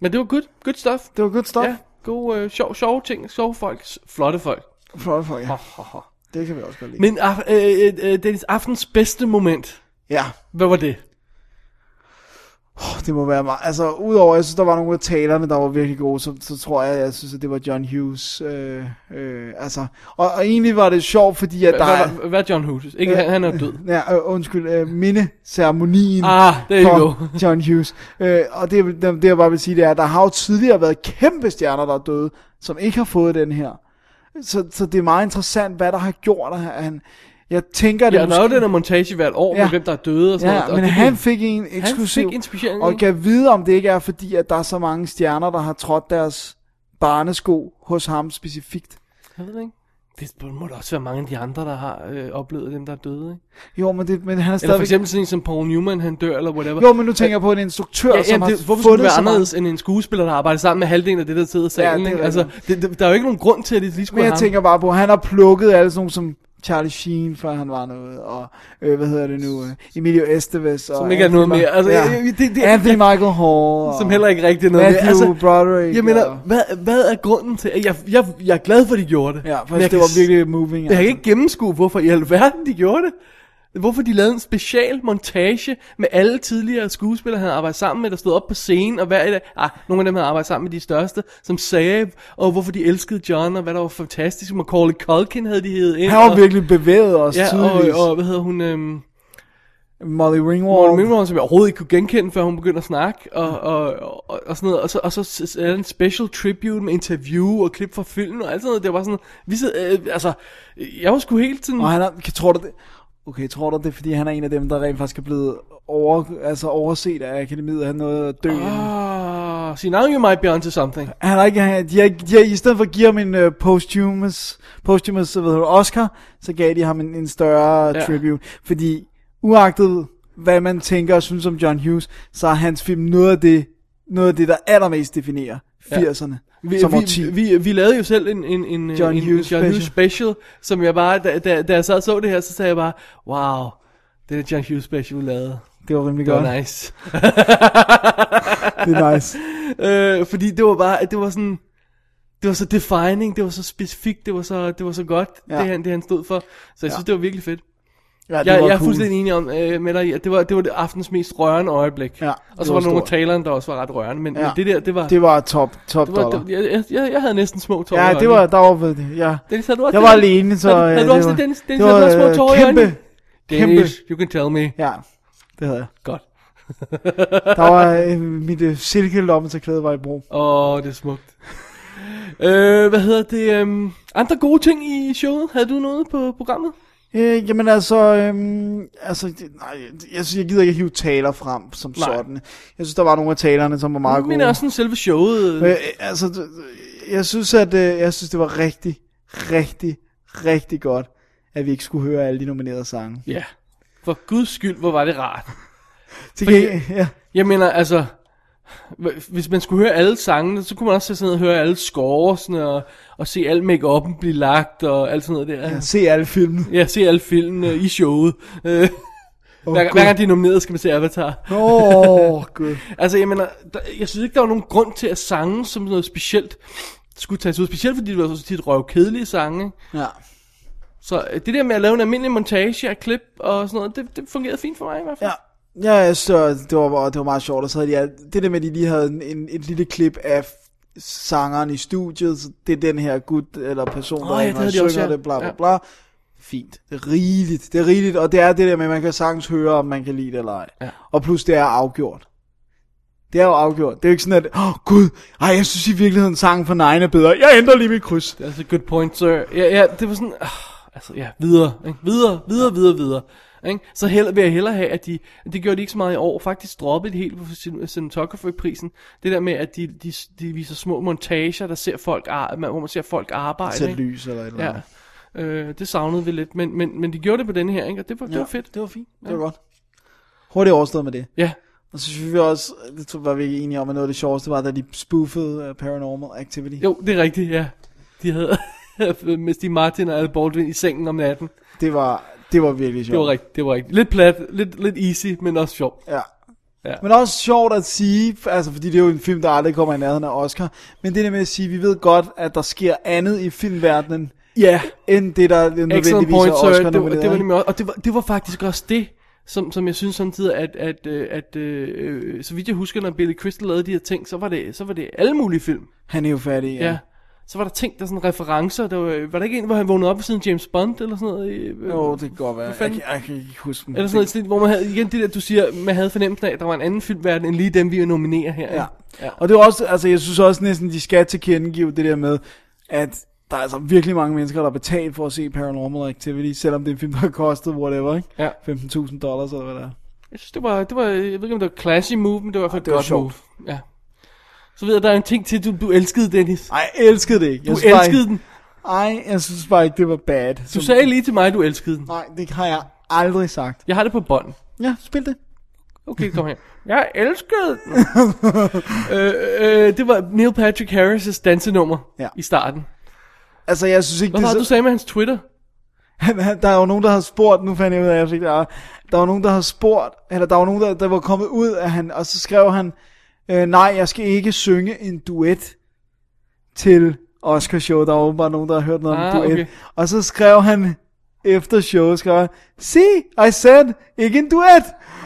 men det var good, good stuff. Det var godt stuff. Ja, gode, øh, sjov, sjove ting, sjove folk, s- flotte folk. For, for, ja. Det kan vi også godt lide. Men af, øh, øh, øh, Dennis, aftens bedste moment, Ja. hvad var det? Åh, Det må være meget. Altså, udover, jeg synes, der var nogle af talerne, der var virkelig gode, så, så tror jeg, jeg synes, at det var John Hughes. Øh, øh, altså, og, og egentlig var det sjovt, fordi at Hvad, der er... hvad, hvad er John Hughes? Ikke, han, han er død. Ja, øh, undskyld, øh, mindeceremonien. Ah, there you go. for John Hughes. Øh, og det, det, det jeg bare vil sige, det er, at der har jo tidligere været kæmpe stjerner, der er døde, som ikke har fået den her. Så, så det er meget interessant, hvad der har gjort, at han... Jeg tænker, det Ja, der er jo den her montage hvert år, ja. Ja. med hvem der er døde og sådan Ja, noget. og men det han blev- fik en eksklusiv. fik en speciel en. Og kan vide, om det ikke er fordi, at der er så mange stjerner, der har trådt deres barnesko hos ham specifikt. Jeg ved det ikke. Det må der også være mange af de andre, der har øh, oplevet dem, der er døde, ikke? Jo, men, det, men han er Eller for stadigvæk... eksempel sådan en som Paul Newman, han dør, eller whatever. Jo, men nu tænker jeg på en instruktør, ja, som jamen, har det, hvorfor skulle det fundet være så mange anderledes end en skuespiller, der arbejder sammen med halvdelen af det, der sidder i Ja, salen? det er ikke? altså, det, det, der er jo ikke nogen grund til, at det lige skulle Men være jeg ham. tænker bare på, han har plukket alle sådan nogle som Charlie Sheen, før han var noget, og øh, hvad hedder det nu, øh, Emilio Estevez. Som og ikke er Anthony noget Ma- mere. Altså, ja. øh, det- det- Anthony Michael Hall. Som og heller ikke rigtig er noget Matthew mere. Altså, Broderick. jeg mener, og, hvad, hvad er grunden til, at jeg, jeg, jeg er glad for, at de gjorde det. ja, Men jeg faktisk, det kan var s- virkelig moving. altså. Jeg kan ikke gennemskue, hvorfor i alverden de gjorde det. Hvorfor de lavede en special montage med alle tidligere skuespillere, han arbejdet sammen med, der stod op på scenen, og hver i dag, ah, nogle af dem, han arbejdet sammen med, de største, som sagde, og hvorfor de elskede John, og hvad der var fantastisk, og Macaulay Culkin havde de heddet ind. Han var og, virkelig bevæget os ja, ja, tydeligvis. og, og, hvad hedder hun, øhm, Molly Ringwald. Morten Mimron, som jeg overhovedet ikke kunne genkende, før hun begyndte at snakke, og, og, og, og sådan noget. Og så, og så er der en special tribute med interview og klip fra filmen og alt sådan noget. Det var sådan, vi sid, øh, altså, jeg var sgu helt sådan... Og han er, kan, tror du det? Okay, tror du det, er, fordi han er en af dem, der rent faktisk er blevet over, altså overset af akademiet, han nåede at dø. inden. Ah, see now you might be onto something. Han har ikke, han- de har, ikke- de har, i stedet for at give ham en uh, posthumous, posthumous hvad hedder det, Oscar, så gav de ham en, en større Ja. ja. tribute. Fordi uagtet, hvad man tænker og synes om John Hughes, så er hans film noget af det, noget af det der allermest definerer 80'erne. Vi, som vi, årti. vi, vi lavede jo selv en, en, en, John en, Hughes en John Hughes special, som jeg bare, da, da, da jeg sad og så det her, så sagde jeg bare, wow, det er John Hughes special, vi lavede. det var rimelig Det godt. var nice. Det er nice. øh, fordi det var bare, at det var sådan, det var så defining, det var så specifikt, det var så, det var så godt, ja. Ja. det, han, det han stod for. Så jeg synes, det var virkelig fedt. Ja, det Jeg, var jeg er cool. fuldstændig enig om, øh, med dig, i, at det var, det var det aftens mest rørende øjeblik. Ja, og det så var, var der nogle af stort. talerne, der også var ret rørende, men, ja. Ja. men det der, det var... Det var top, top Det det var, dollar. var, det, jeg, jeg, jeg havde næsten små tårer. i ja, det øjnene. var, der var ved det, ja. Dennis, havde du også Jeg var det? alene, så... Havde, havde øh, du også det det, var- Dennis? Dennis, havde du også små øh, tårer i kæmpe, øjnene? Dennis, you can tell me. Ja, det havde jeg. Godt. Der var øh, mit øh, silkelomme til klæde var i brug. Åh, oh, det er smukt. øh, hvad hedder det? øhm, andre gode ting i showet? Havde du noget på programmet? Øh, jamen altså, øh, altså det- nej, jeg, synes, jeg gider ikke hive taler frem som Nej. nej. sådan. Jeg synes, der var nogle af talerne, som var meget Men gode. også sådan selve showet. Øh, Øh, øh, altså, d- d- jeg synes, at øh, jeg synes, det var rigtig, rigtig, rigtig godt, at vi ikke skulle høre alle de nominerede sange. ja. For guds skyld, hvor var det rart. Til Fordi- gengæld- ja. Jeg mener, altså... hv- Hvis man skulle høre alle sangene, så kunne man også sætte sig ned og høre alle scoresne, og, og se al make-up'en blive lagt, og alt sådan noget der. Se alle filmene. Ja, se alle filmene i showet. Øh, oh, hver, Gud. hver gang de er nomineret, skal man se Avatar. Åh, oh, gud. Altså, jeg mener, der, jeg synes ikke, der var nogen grund til, at sange som noget specielt skulle tages ud. Specielt fordi det var så tit røvkedelige sange. Ja. Så øh, det der med at lave en almindelig montage af klip og sådan noget, det, det fungerede fint for mig i hvert fald. Ja. Ja, så det var, det var meget sjovt, og så havde de alt, det der med, at de lige havde en, en, et lille klip af sangeren i studiet, så det er den her gut eller person, der Åh, ja, det oh, havde de ja, også, synger ja. det, bla bla Ja. ja. bla. Fint. Det er rigeligt, det er rigeligt, og det er det der med, at man kan sagtens høre, om man kan lide det eller ej. Ja. Og plus, det er afgjort. Det er jo afgjort. Det er jo ikke sådan, at, åh oh, gud, ej, jeg synes i virkeligheden, sangen for Nine er bedre. Jeg ændrer lige mit kryds. Det er altså good point, sir. Ja, ja det var sådan, øh, altså ja, videre, ikke? videre, videre, videre, videre. Ikke? Så heller, vil jeg hellere have, at de, det gjorde de ikke så meget i år, faktisk droppede de helt på cin- cinematography-prisen. Det der med, at de, de, de viser små montager, der ser folk, ar- man- hvor man ser folk arbejde. Sæt ikke? lys eller et eller Ja. andet. Øh, det savnede vi lidt, men, men, men de gjorde det på denne her, ikke? og det var, ja. det var fedt. Det var fint. Det var godt. Hurtigt overstået med det. Ja, Og så synes vi også, det tror, var vi ikke enige om, at noget af det sjoveste var, da de spoofede uh, Paranormal Activity. jo, det er rigtigt, ja. De havde med Steve Martin og Al Baldwin i sengen om natten. Det var, det var virkelig sjovt. Det var rigtigt, det var rigtigt. Lidt plat, lidt, lidt easy, men også sjovt. Ja. Ja. Ja. Men også sjovt at sige, altså fordi det er jo en film, der aldrig kommer i nærheden af Oscar, men det der med at sige, vi ved godt, at der sker andet i filmverdenen, Ja. Yeah. end det, der nødvendigvis Excellent er point, sir. Oscar Det, var, det var nomineret. nemlig også, og det var, det var faktisk også det, som, som jeg synes samtidig, at, at, øh, at øh, øh, så vidt jeg husker, når Billy Crystal lavede de her ting, så var det, så var det alle mulige film. Han er jo fattig, ja. Ja. Så var der ting, der sådan referencer. Der var, var der ikke en, hvor han vågnede op ved siden af James Bond, eller sådan noget? øh, øh, Jo, det kan godt være. Jeg, fanden? kan- jeg, kan ikke huske den. Eller sådan noget, i stil, hvor man havde, igen det der, du siger, man havde fornemmelsen af, at der var en anden filmverden, end lige dem, vi nominerer her. Ja. ikke? ja. Og det er også, altså jeg synes også næsten, de skal tilkendegive det der med, at der er altså virkelig mange mennesker, der har betalt for at se Paranormal Activity, selvom det er en film, der har kostet whatever, ikke? Ja. 15.000 dollars eller hvad det er. Jeg synes, det var, det var, jeg ved ikke, om det var classy move, men det var i hvert fald det et var godt sjovt. move. Ja. Så ved jeg, der er en ting til, du, du elskede, Dennis. Ej, jeg elskede det ikke. Du synes bare elskede ikke, den. Ej, jeg synes bare ikke, det var bad. Du sagde lige til mig, at du elskede den. Nej, det har jeg aldrig sagt. Jeg har det på bånd. Ja, spil det. Okay, kom her. Jeg elskede den. øh, øh, det var Neil Patrick Harris' dansenummer Ja. i starten. Altså, jeg synes ikke, Hvad var det, det du sagde med hans Twitter? Han, han, der er jo nogen, der har spurgt, nu fandt jeg ud af, at jeg fik det, der, der var nogen, der har spurgt, eller der var nogen, der, der var kommet ud af han, og så skrev han, øh, nej, jeg skal ikke synge en duet til Oscar Show. Der var åbenbart nogen, der har hørt noget Ah, om duet. okay. Og så skrev han, efter showet, skrev han, see, I said, ikke en duet.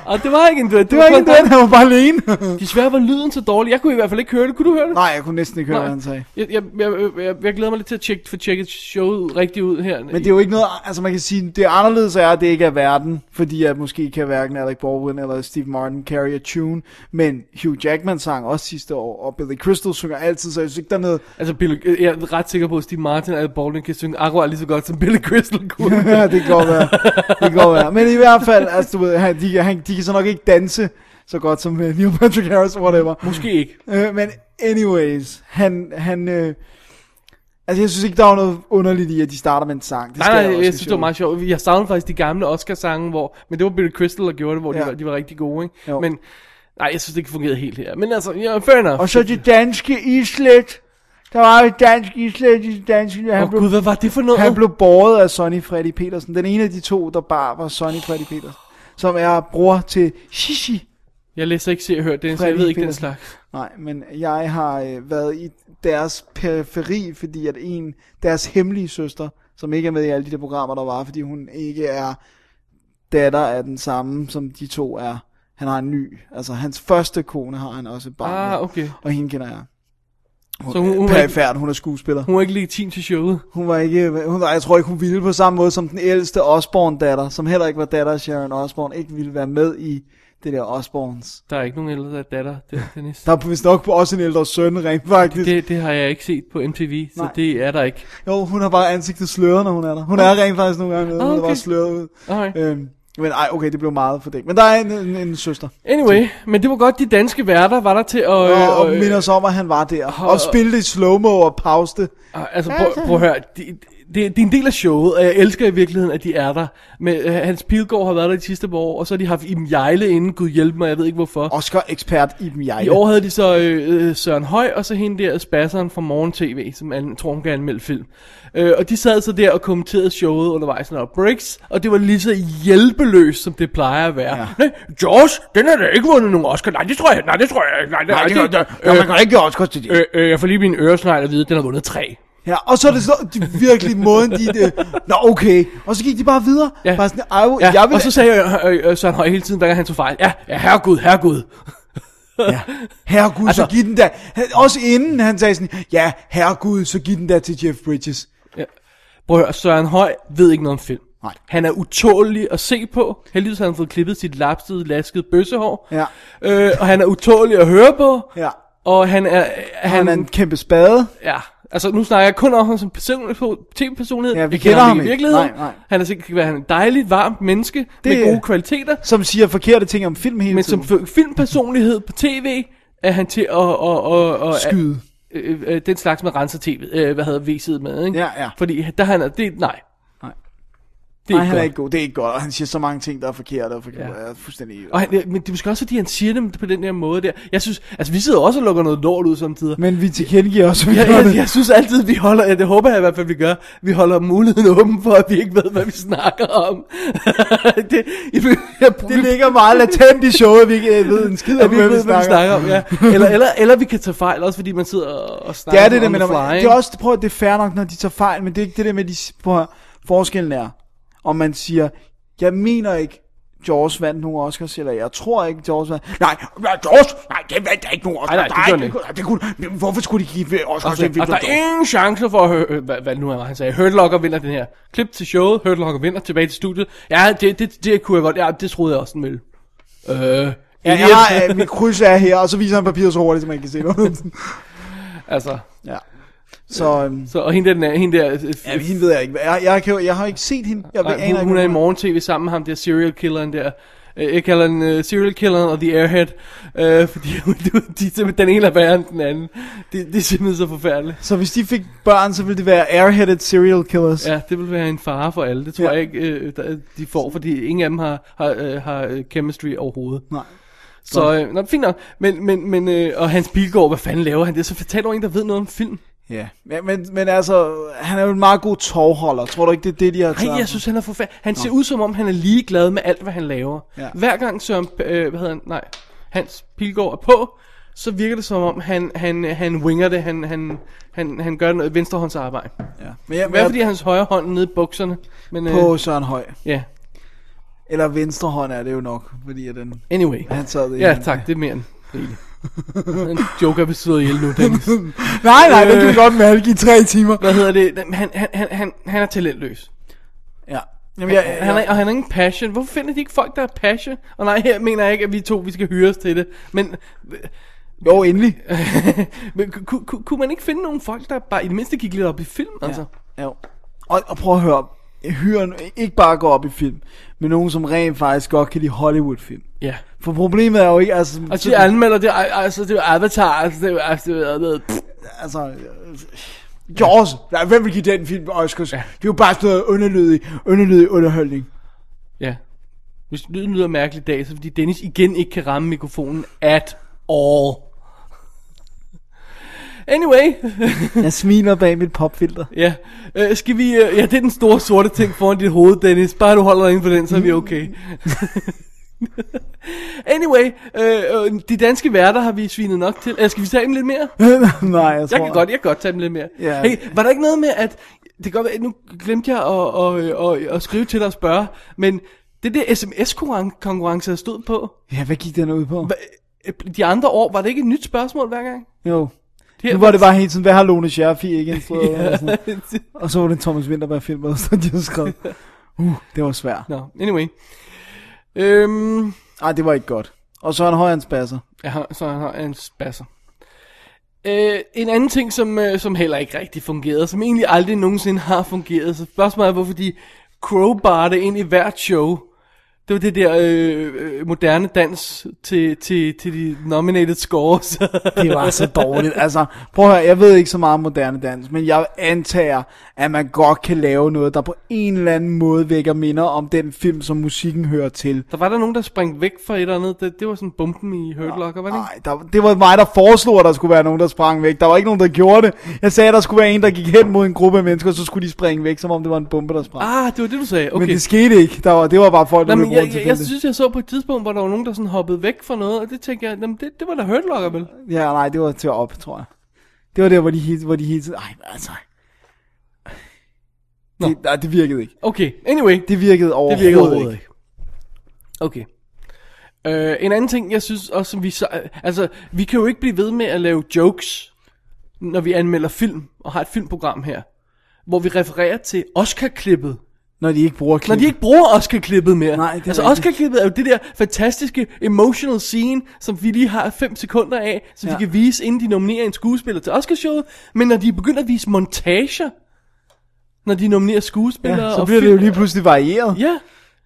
Og det var ikke en duet. Det var ikke en duet, han var bare alene. Desværre var lyden så dårlig. Jeg kunne i hvert fald ikke høre det. Kunne du høre det? nej, jeg kunne næsten ikke høre, Nej. hvad han sagde. Jeg, jeg, jeg, jeg, jeg glæder mig lidt til at tjekke, få tjekket showet ud- rigtigt ud her. Men det er jo ikke noget, altså man kan sige, det anderledes er, at det ikke er verden, fordi at måske kan hverken Alec Baldwin eller Steve Martin carry a tune, men Hugh Jackman sang også sidste år, og Billy Crystal synger altid, så jeg synes ikke, der er noget, Altså, Bill, jeg er ret sikker på, at Steve Martin og Baldwin kan synge akkurat lige så godt, som Billy Crystal kunne. ja, det kan godt være, det kan godt være. Men i hvert fald, altså du ved, han, de, han, de kan så nok ikke danse så godt som uh, Neil Patrick Harris, whatever. Måske ikke. Øh, men anyways, han, han, øh, altså jeg synes ikke, der er noget underligt i, at de starter med en sang. Det Nej, sker nej, også i jeg synes, det var showet. meget sjovt. Jeg savnede faktisk de gamle Oscar-sange, hvor... Men det var Billy Crystal, der gjorde det, hvor Ja. de, var, de var rigtig gode, ikke? Jo. Men... Nej, jeg synes, det ikke fungerede helt her. Men altså, ja, fair enough. Og så det danske islet. Der var et dansk islet i det danske. Han, Åh oh, oh, blev, gud, hvad var det for noget? han blev båret af Sonny Freddy Petersen. Den ene af de to, der bare var Sonny Freddy Petersen. Som er bror til Shishi. Jeg læser ikke se og hør det, så jeg Freddy ved ikke den Petersen. slags. Nej, men jeg har øh, været i deres periferi, fordi at en, deres hemmelige søster, som ikke er med i alle de der programmer, der var, fordi hun ikke er datter af den samme, som de to er. Han har en ny, altså hans første kone har han også et barn med, Ah, okay. og hende kender jeg. Hun, Så hun- hun er ikke- perifært, hun er skuespiller. Hun var ikke legitim til showet. Hun var ikke, hun, var- jeg tror ikke, hun ville på samme måde som den ældste Osborne-datter, som heller ikke var datter af Sharon Osborne, ikke ville være med i det der Osborns. Der er ikke nogen ældre, der er datter, det, Dennis. Der er vist nok også en ældre søn, rent faktisk. Det, Det, det har jeg ikke set på MTV, så Nej. det er der ikke. Jo, hun har bare ansigtet sløret, når hun er der. Hun er rent faktisk nogle gange med, hun er Okay. bare sløret ud. Alright. Øhm, men ej, okay, det blev meget for det. Men der er en, en, en søster, Anyway, men det var godt, de danske værter var der til at... og, øh, og øh, minder os om, at han var der. og- Og spillede i slow-mo og pauste. Ah, Altså, prøv, prøv at høre. Det, det, det er en del af showet, og jeg elsker i virkeligheden, at de er der. Men øh, Hans Pilgaard har været der de sidste par år, og så har de haft Iben Jejle inden, Gud hjælp mig, jeg ved ikke hvorfor. Oscar-ekspert Iben I Jejle. år havde de så øh, øh, Søren Høj, og så hende der spasseren fra Morgen TV, som an, tror, hun kan anmelde film. Øh, og de sad så der og kommenterede showet undervejs, når der var breaks, og det var lige så hjælpeløst, som det plejer at være. Ja. Nej, Jaws, den har da ikke vundet nogen Oscar. Nej, det tror jeg, nej, det tror jeg ikke. Nej, nej, det, det, øh, man kan ikke gøre Oscar til det. øh, øh, jeg får lige min øresnegl at vide, at den har vundet tre. Ja, og så er det så, de, virkelig måden, de... Øh, Nå, okay. Og så gik de bare videre. Ja. Ja. Bare sådan, Ej, Ja, jeg vil... og så sagde jeg, øh, øh, Søren Høj hele tiden, hver gang han tog fejl. Ja, ja, herregud, herregud. ja. Herregud, altså, så Altså- giv den der... Han, også inden han sagde sådan, ja, herregud, så giv den der til Jeff Bridges. Prøv at høre, Søren Høj ved ikke noget om film. Nej. Han er utålig at se på. Heldigvis har han fået klippet sit lapsede, laskede bøssehår. Ja. Øh, og han er utålig at høre på. Ja. Og han er... Han Han, er en kæmpe spade. Ja. Altså, nu snakker jeg kun om ham som person- tv-personlighed. Ja, vi Jeg kender ham ikke. i ikke. virkeligheden. Nej, nej. Han er sikkert, at han er en dejlig, varmt menneske det, med Det- gode kvaliteter. Som siger forkerte ting om film hele Men som tiden. f- filmpersonlighed på tv, er han til at... at, at, at Skyde. øh, øh, den slags med renser TV, øh, hvad hedder VC'et med, ikke? Ja, ja. Fordi der han er, det, nej. Nej. Det er Nej, ikke han er godt. ikke god. Det er ikke godt. Og han siger så mange ting, der er forkerte. Og forkerte. Ja. Ja. fuldstændig... Og han, øh, men det er måske også, fordi han siger dem på den der måde der. Jeg synes, altså vi sidder også og lukker noget lort ud samtidig. Men vi tilkendegiver også, at vi Jeg, gør jeg, det. jeg synes altid, vi holder, ja, det håber jeg i hvert fald, vi gør, vi holder muligheden åben for, at vi ikke ved, hvad vi snakker om. det, jeg, jeg, Det ligger meget latent i showet, at vi ikke øh, ved en skid at om, vi ikke ved, hvad vi snakker om, ja. Eller, eller, eller vi kan tage fejl, også fordi man sidder og og snakker Det er det der on med, the når man, fly, det er ikke? også, prøv at det er fair nok, når de tager fejl, men det er ikke det der med, de, s- prøv at, høre, forskellen er, om man siger, jeg mener ikke, Jaws vandt nogle Oscars, eller jeg tror ikke, Jaws vandt. Nej, ja, Jaws, nej, det vandt der ikke nogen Oscars. Nej, nej, det gjorde ikke. Det kunne, hvorfor skulle de give Oscars til en Og, film og der som Jaws? er ingen chance for at høre, øh, hvad, hvad nu er han sagde, Hurtlocker vinder den her. Klip til showet, Hurtlocker vinder, tilbage til studiet. Ja, det, det, det kunne jeg godt, ja, det troede jeg også den ville. Øh, Ja, idiot. jeg har, øh, mit kryds er her, og så viser han papiret så hurtigt, som man kan se det. altså, ja. Så, øhm, så, og hende der, den er- hende der øh, f- ja, hende ved jeg ikke. Jeg, jeg, kan, jo- jeg har ikke set hende. Jeg nej, aner hun, hun, er i hvem morgen-tv sammen med ham der serial killeren der. Øh, Jeg kalder den uh, serial killeren og the airhead, uh, fordi de, de, er simpelthen- den ene er værre end den anden. Det, det er simpelthen så forfærdeligt. Så hvis de fik børn, så ville det være airheaded serial killers. Ja, det vil være en fare for alle. Det tror Ja. ja. jeg ikke, øh, der, de får, fordi ingen af dem har, har, øh, har øh, chemistry overhovedet. Nej. Så øh, nå, fint nok. Men, men, men øh, og Hans Bilgaard, hvad fanden laver han? Det er så fortalt over en, der ved noget om film. Ja, men, men, men altså, han er jo en meget god tovholder. Tror du ikke, det er det, de har Nej, jeg synes, han er forfærdelig. Han ser ud, som om han er ligeglad med alt, hvad han laver. Ja. Hver gang Søren, øh, hvad hedder han, nej, Hans Pilgaard er på, så virker det som om, han, han, han winger det, han, han, han, han gør noget venstrehåndsarbejde. Ja. Men jeg, Hvad men fordi hans højre hånd er nede i bukserne? Men, øh, jeg, på Søren Høj. ja, Eller venstre hånd er det jo nok, fordi at den... anyway. Han sad i Ja, en- tak, det er mere end rigeligt. en joker vil sidde ihjel nu, Dennis. Nej, nej, den kan Øh. vi godt mærke i tre timer. Hvad hedder det? Jamen, Han, han, han, han, han er talentløs. Ja. Jamen, jeg, Han er, og han har ingen passion. Hvorfor finder de ikke folk, der er passion? Og nej, her mener jeg ikke, at vi to vi skal hyres til det. Men, jo, endelig. men ku- ku- ku- kunne man ikke finde nogle folk, der bare i det mindste gik lidt op i film? Altså? Ja. Og, og prøv at høre, hyren ikke bare går op i film, men nogen, som rent faktisk godt kan lide Hollywood-film. Ja. For problemet er jo ikke, altså... Og de anmelder det, al- altså det er jo Avatar, altså det er jo, altså, det er jo, det er jo- altså øh, Jaws, nej, hvem vil give den film Oscars? Ja. Det er jo bare sådan noget underlydig, underlydig underholdning. ja. Hvis lyden lyder mærkeligt i dag, så er det, fordi Dennis igen ikke kan ramme mikrofonen at all. Anyway, Jeg smiler bag mit popfilter. Ja, øh, skal vi... Øh, ja, det er den store sorte ting foran dit hoved, Dennis. Bare du holder dig inden for den, så er vi okay. anyway, øh, øh, de danske værter har vi svinet nok til. Øh, skal vi tage dem lidt mere? nej, jeg tror... Jeg kan godt, jeg kan godt tage dem lidt mere. Ja. Hey, var der ikke noget med, at... Det kan godt være, nu glemte jeg at, at, at, at, at skrive til dig og spørge, men det der sms-konkurrence, der stod på, Ja, hvad gik den ud på? hva- øh, de andre år, var det ikke et nyt spørgsmål hver gang? Jo. Her, Nu var det bare helt sådan, hvad har Lone Scherfi ikke instrueret? eller sådan. Og så var det en Thomas Winterberg film, og så de havde skrevet. Uh, det var svært. Nå, anyway. Øhm, Nej, det var ikke godt. Og så en højhånds basser. Ja, han- så han har en spasser. Øh, en anden ting, som, øh, som heller ikke rigtig fungerede, som egentlig aldrig nogensinde har fungeret, så spørgsmålet er, hvorfor de crowbar det ind i hvert show. Det var det der øh, øh, moderne dans til, til, til de nominated scores. Det var så dårligt. Altså, prøv at høre, jeg ved ikke så meget om moderne dans, men jeg antager, at man godt kan lave noget, der på en eller anden måde vækker minder om den film, som musikken hører til. der var der nogen, der sprang væk fra et eller andet. Det, det var sådan bumpen i Hurt Locker, var det ikke? Nej, der, det var mig, der foreslog, at der skulle være nogen, der sprang væk. Der var ikke nogen, der gjorde det. Jeg sagde, at der skulle være en, der gik hen mod en gruppe af mennesker, og så skulle de springe væk, som om det var en bombe, der sprang. Ah, det var det, du sagde. Okay. Men det skete ikke. Der var, det var bare folk, der Nej, løb men rundt jeg, jeg, jeg til synes, jeg så på et tidspunkt, hvor der var nogen, der sådan hoppede væk fra noget, og det tænkte jeg, jamen, det, det var da Hurt Locker, vel? Ja, nej, det var til op, tror jeg. Det var der, hvor de hele, hvor de hele tiden... Ej, altså... Nå. Det, nej, det virkede ikke. Okay, anyway. Det virkede overhovedet, Det virker overhovedet ikke. Okay. Øh, en anden ting, jeg synes også, som vi så, altså, vi kan jo ikke blive ved med at lave jokes, når vi anmelder film, og har et filmprogram her, hvor vi refererer til Oscar-klippet, Når de ikke bruger klip. når de ikke bruger Oscar-klippet mere. Nej, det er altså, rigtigt. Oscar-klippet er jo det der fantastiske emotional scene, som vi lige har 5 sekunder af, som ja. Ja. de kan vise, inden de nominerer en skuespiller til Oscarshowet, men når de begynder at vise montager, når de nominerer skuespillere ja, så og bliver det jo film- lige pludselig varieret. Ja,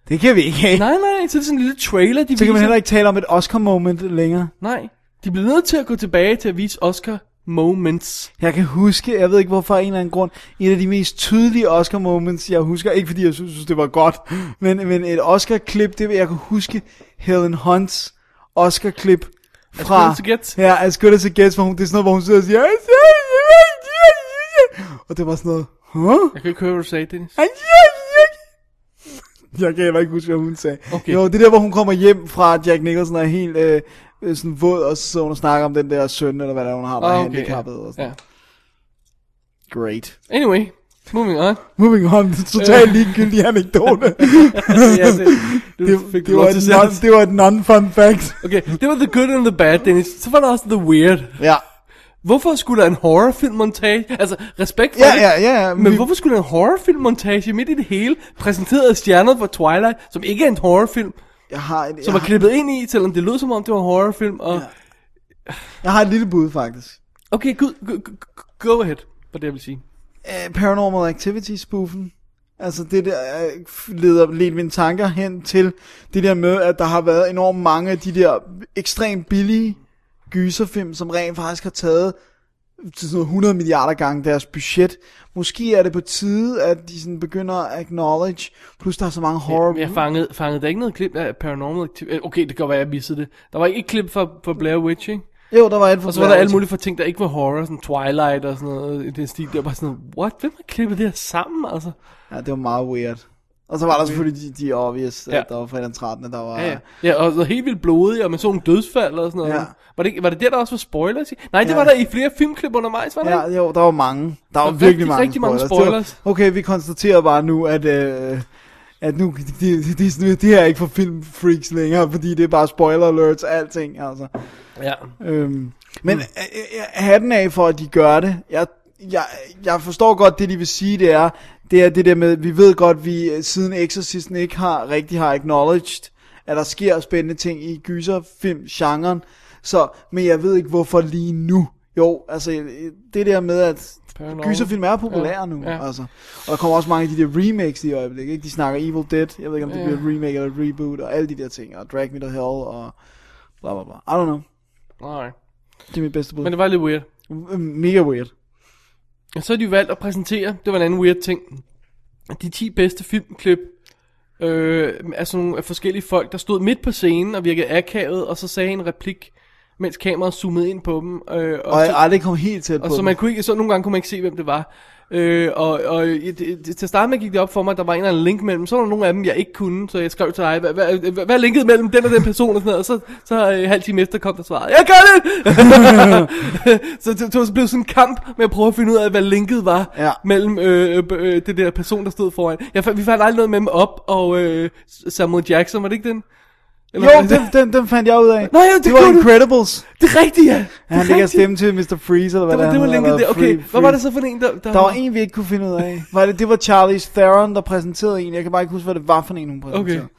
Det kan vi ikke have. Nej, nej, så er det sådan en lille trailer, de Så kan man viser. heller ikke tale om et Oscar-moment længere. Nej, de bliver nødt til at gå tilbage til at vise Oscar moments. Jeg kan huske, jeg ved ikke hvorfor, af en eller anden grund, en af de mest tydelige Oscar-moments, jeg husker, ikke fordi jeg synes, synes, det var godt, men, men et Oscar-klip, det vil jeg kan huske Helen Hunts Oscar-klip fra... As Good As It Gets. Ja, As Good As It Gets, hvor hun, det er sådan noget, hvor hun sidder og siger... "Yes, yes, yes, yes, yes, yes." Og det var sådan noget... Huh? Jeg kan ikke høre, hvad du sagde, Dennis. Ah, yes, yes. Jeg kan heller ikke huske, hvad hun sagde. Okay. Jo, det der, hvor hun kommer hjem fra, at Jack Nicholson er helt øh, øh, sådan våd, og så sidder hun og snakker om den der søn, eller hvad der er, hun har, der er handicappet. Og sådan. Ah, ja. Great. Anyway, moving on. Moving on, totalt ligegyldig anekdote. ja, det, du det, fik det, lov var til et selv. non, det var et non-fun fact. Okay, det var the good and the bad, Dennis. Så var der også the weird. Ja. Hvorfor skulle der en horrorfilm montage? Altså, respekt for Ja, det. ja, ja, ja, men Men, vi- hvorfor skulle der en horrorfilm montage midt i det hele, præsenteret af stjerner fra Twilight, som ikke er en horrorfilm, Jeg har, et, som jeg, var klippet ind i, selvom det lød som om, det var en horrorfilm, og... har- jeg har et lille bud, faktisk. Okay, go, go, go- go ahead, var det, jeg vil sige. Øh, Paranormal Activity-spoofen. Altså det der øh, f- leder lidt mine tanker hen til det der med, at der har været enormt mange af de der ekstremt billige gyserfilm, som rent faktisk har taget til sådan noget 100 milliarder gange deres budget. Måske er det på tide, at de sådan begynder at acknowledge, plus der er så mange horror... Men jeg fangede, øh, fangede der ikke noget klip af Paranormal Activity. Okay, det kan godt være, jeg missede det. Der var ikke et klip fra, fra Blair Witch, ikke? Jo, der var alt for Og så var der alle mulige for ting, der ikke var horror, sådan Twilight og sådan noget, øh, i den stil. Det var bare sådan, what? Hvem har klippet det her sammen, altså? Ja, det var meget weird. Og så var der selvfølgelig de, de obvious, ja. Ja. der var fredag den 13. Der var... Ja, ja. ja og så helt vildt blodige, og man så nogle dødsfald og sådan noget. Ja. Ja. Var, det, ikke- var det der, der også var spoilers i? Nej, det Ja. var der i flere filmklip undervejs, var det ikke? Ja, jo, der var mange. Der var, var virkelig rigtig, mange rigtig mange Det Var, okay, vi konstaterer bare nu, at, øh, at nu, det, det, det, det her er ikke for filmfreaks længere, fordi det er bare spoiler alerts og alting, altså. Ja. Øhm, men øh, øh, hatten af for, at de gør det. Jeg, jeg, jeg forstår godt, det de vil sige, det er, det er det der med, vi ved godt, vi øh, siden Exorcisten ikke har rigtig har acknowledged, at der sker spændende ting i gyserfilm-genren, så, men jeg ved ikke, hvorfor lige nu. Jo, altså øh, det der med, at Paranormal. gyserfilm er populære Ja, nu, ja. altså. Og der kommer også mange af de der remakes i øjeblikket, ikke? De snakker Evil Dead, jeg ved ikke, om det Ja. bliver et remake eller et reboot, og alle de der ting, og Drag Me to Hell, og bla bla bla. I don't know. Nej. Det er mit bedste bud. Men det var lidt weird. Mega weird. Og så har de jo valgt at præsentere, det var en anden weird ting, de 10 bedste filmklip øh, af sådan nogle af forskellige folk, der stod midt på scenen og virkede akavet, og så sagde en replik, mens kameraet zoomede ind på dem. Øh, Og jeg så- aldrig kom helt tæt på Og så den. man kunne ikke, så nogle gange kunne man ikke se, hvem det var. Øh, og, og i- det- det- til at starte med gik det op for mig, at der var en eller anden link mellem. Så var der nogle af dem, jeg ikke kunne, så jeg skrev til dig, hvad, hvad, hvad, hvad er linket mellem den og den person og sådan noget. Og så, så øh, halv time efter kom der svaret, jeg gør det! så det, det blev sådan en kamp med at prøve at finde ud af, hvad linket var Ja. mellem øh, øh, øh, det der person, der stod foran. Jeg, fa- vi fandt aldrig noget med dem op og øh, Samuel Jackson, var det ikke den? Jo, hvad- den, den, den fandt jeg ud af. Nej, ja, det det var gjorde du. Incredibles. Det er rigtigt, ja! Ja, han ligger rigtigt. stemme til Mr. Freeze, eller hvad Det var, det var han hedder, linket der. eller Okay, Free- hvad var det Freeze. så for en, der... Der, Der var en, vi ikke kunne finde ud af. Var det, det var Charlize Theron, der præsenterede en. Jeg kan bare ikke huske, hvad det var for en, hun præsenterede. Okay.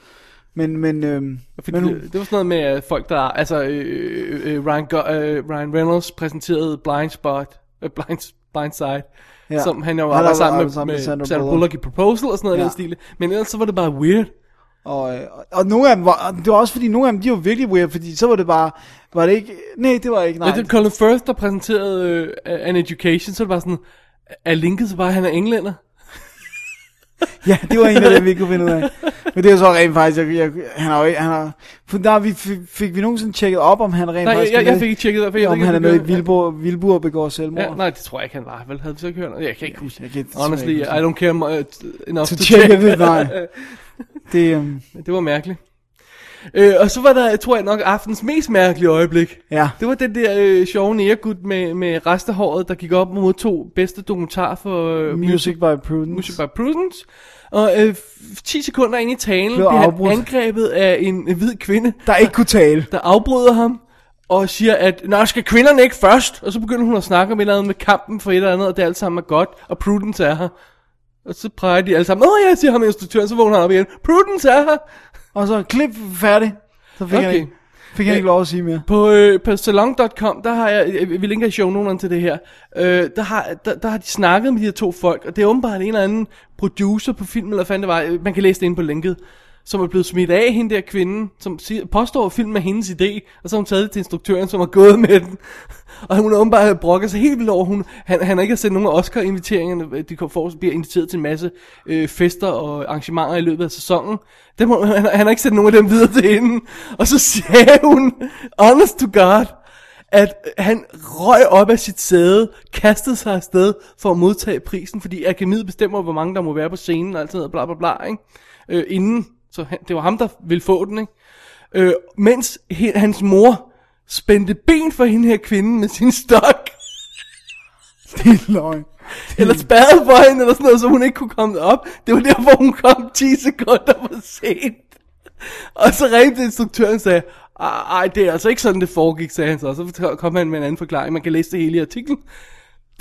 Men, men, øhm, Fordi men hun, det, det var sådan noget med øh, folk, der... Altså, øh, øh, Ryan, Go- øh, Ryan Reynolds præsenterede Blind Spot, øh, Blind, Blind Side, Ja. ja. som han jo Han var har sammen været med, sammen med Sandra, Sandra Bullock. i Proposal og sådan noget Ja. ja. i den stil. Men ellers så var det bare weird. Og, øh, og, og nogle af dem var, og det var også fordi, nogle af dem, de var virkelig weird, fordi så var det bare, var det ikke, nej, det var ikke, nej. Nej. Det er Colin Firth, der præsenterede øh, An Education, så det var sådan... Er linket så bare, at han er englænder? Ja, det var en af dem, vi ikke kunne finde ud af. Men det er så rent faktisk, jeg, jeg, han har jo ikke, han har, for der vi, fik, fik vi nogensinde tjekket op, om han rent Nej, jeg, faktisk jeg, er jeg med, fik ikke tjekket det, for jeg ved om ikke, han er med i det- Vildbur, Vildbur begår selvmord. Ja, nej, det tror jeg ikke, han var. Vel, havde vi så ikke hørt noget? Jeg kan ikke huske. Jeg kan ikke- Honestly, jeg kan I ikke don't care mu- t- enough To to, check check it, nej. Det, øhm, Men Det var mærkeligt. Øh, og så var der, tror jeg nok, aftens mest mærkelige øjeblik. ja, Det var den der øh, sjove nærgud med, med restehåret, der gik op mod modtog bedste dokumentar for øh, Music by Prudence. Music by Prudence. Og øh, f- 10 sekunder ind i talen Blev blev han afbrudt. angrebet af en øh, hvid kvinde, Der ikke kunne tale. der afbryder ham og siger, at Nå, skal kvinderne ikke først? Og så begynder hun at snakke om et eller andet med kampen for et eller andet, og det alt sammen er godt, og Prudence er her. Og så peger de alle sammen, åh ja, siger ham instruktøren, så vågner han op igen, Prudence er her! Og så klip færdig. Så fik okay. han Okay. ikke, fik han ikke lov at sige mere. På, øh, på salon.com, der har jeg, øh, vi linker i shownoterne til det her, øh, der, har, der, der har de snakket med de her to folk, og det er åbenbart en eller anden producer på filmen, eller hvad fanden det var, øh, man kan læse det inde på linket, som er blevet smidt af hende der kvinde, som siger, påstår, at filmen er hendes idé, og så har hun taget det til instruktøren, som har gået med den. Og hun har åbenbart brokket sig helt vildt over, hun, han, han har ikke har sendt nogen af Oscar-inviteringerne, øh, de kom- får, bliver inviteret til en masse øh, fester og arrangementer i løbet af sæsonen. Dem, har- han, han har ikke sendt nogen af dem videre til hende. Og så sagde hun, honest to God, at han røg op af sit sæde, kastede sig afsted for at modtage prisen, fordi akademiet bestemmer, hvor mange der må være på scenen og alt sådan noget, bla bla bla, ikke? Øh, inden, så han, det var ham, der ville få den, ikke? Øh, mens he, hans mor spændte ben for hende her kvinde med sin stok. Det er løgn. Eller spærrede for hende eller sådan noget, så hun ikke kunne komme op. Det var derfor, hun kom 10 sekunder for sent. Og så ringte instruktøren og sagde, "Ej, ej, det er altså ikke sådan, det foregik, sagde han så. Og så kom han med en anden forklaring. Man kan læse det hele i artiklen.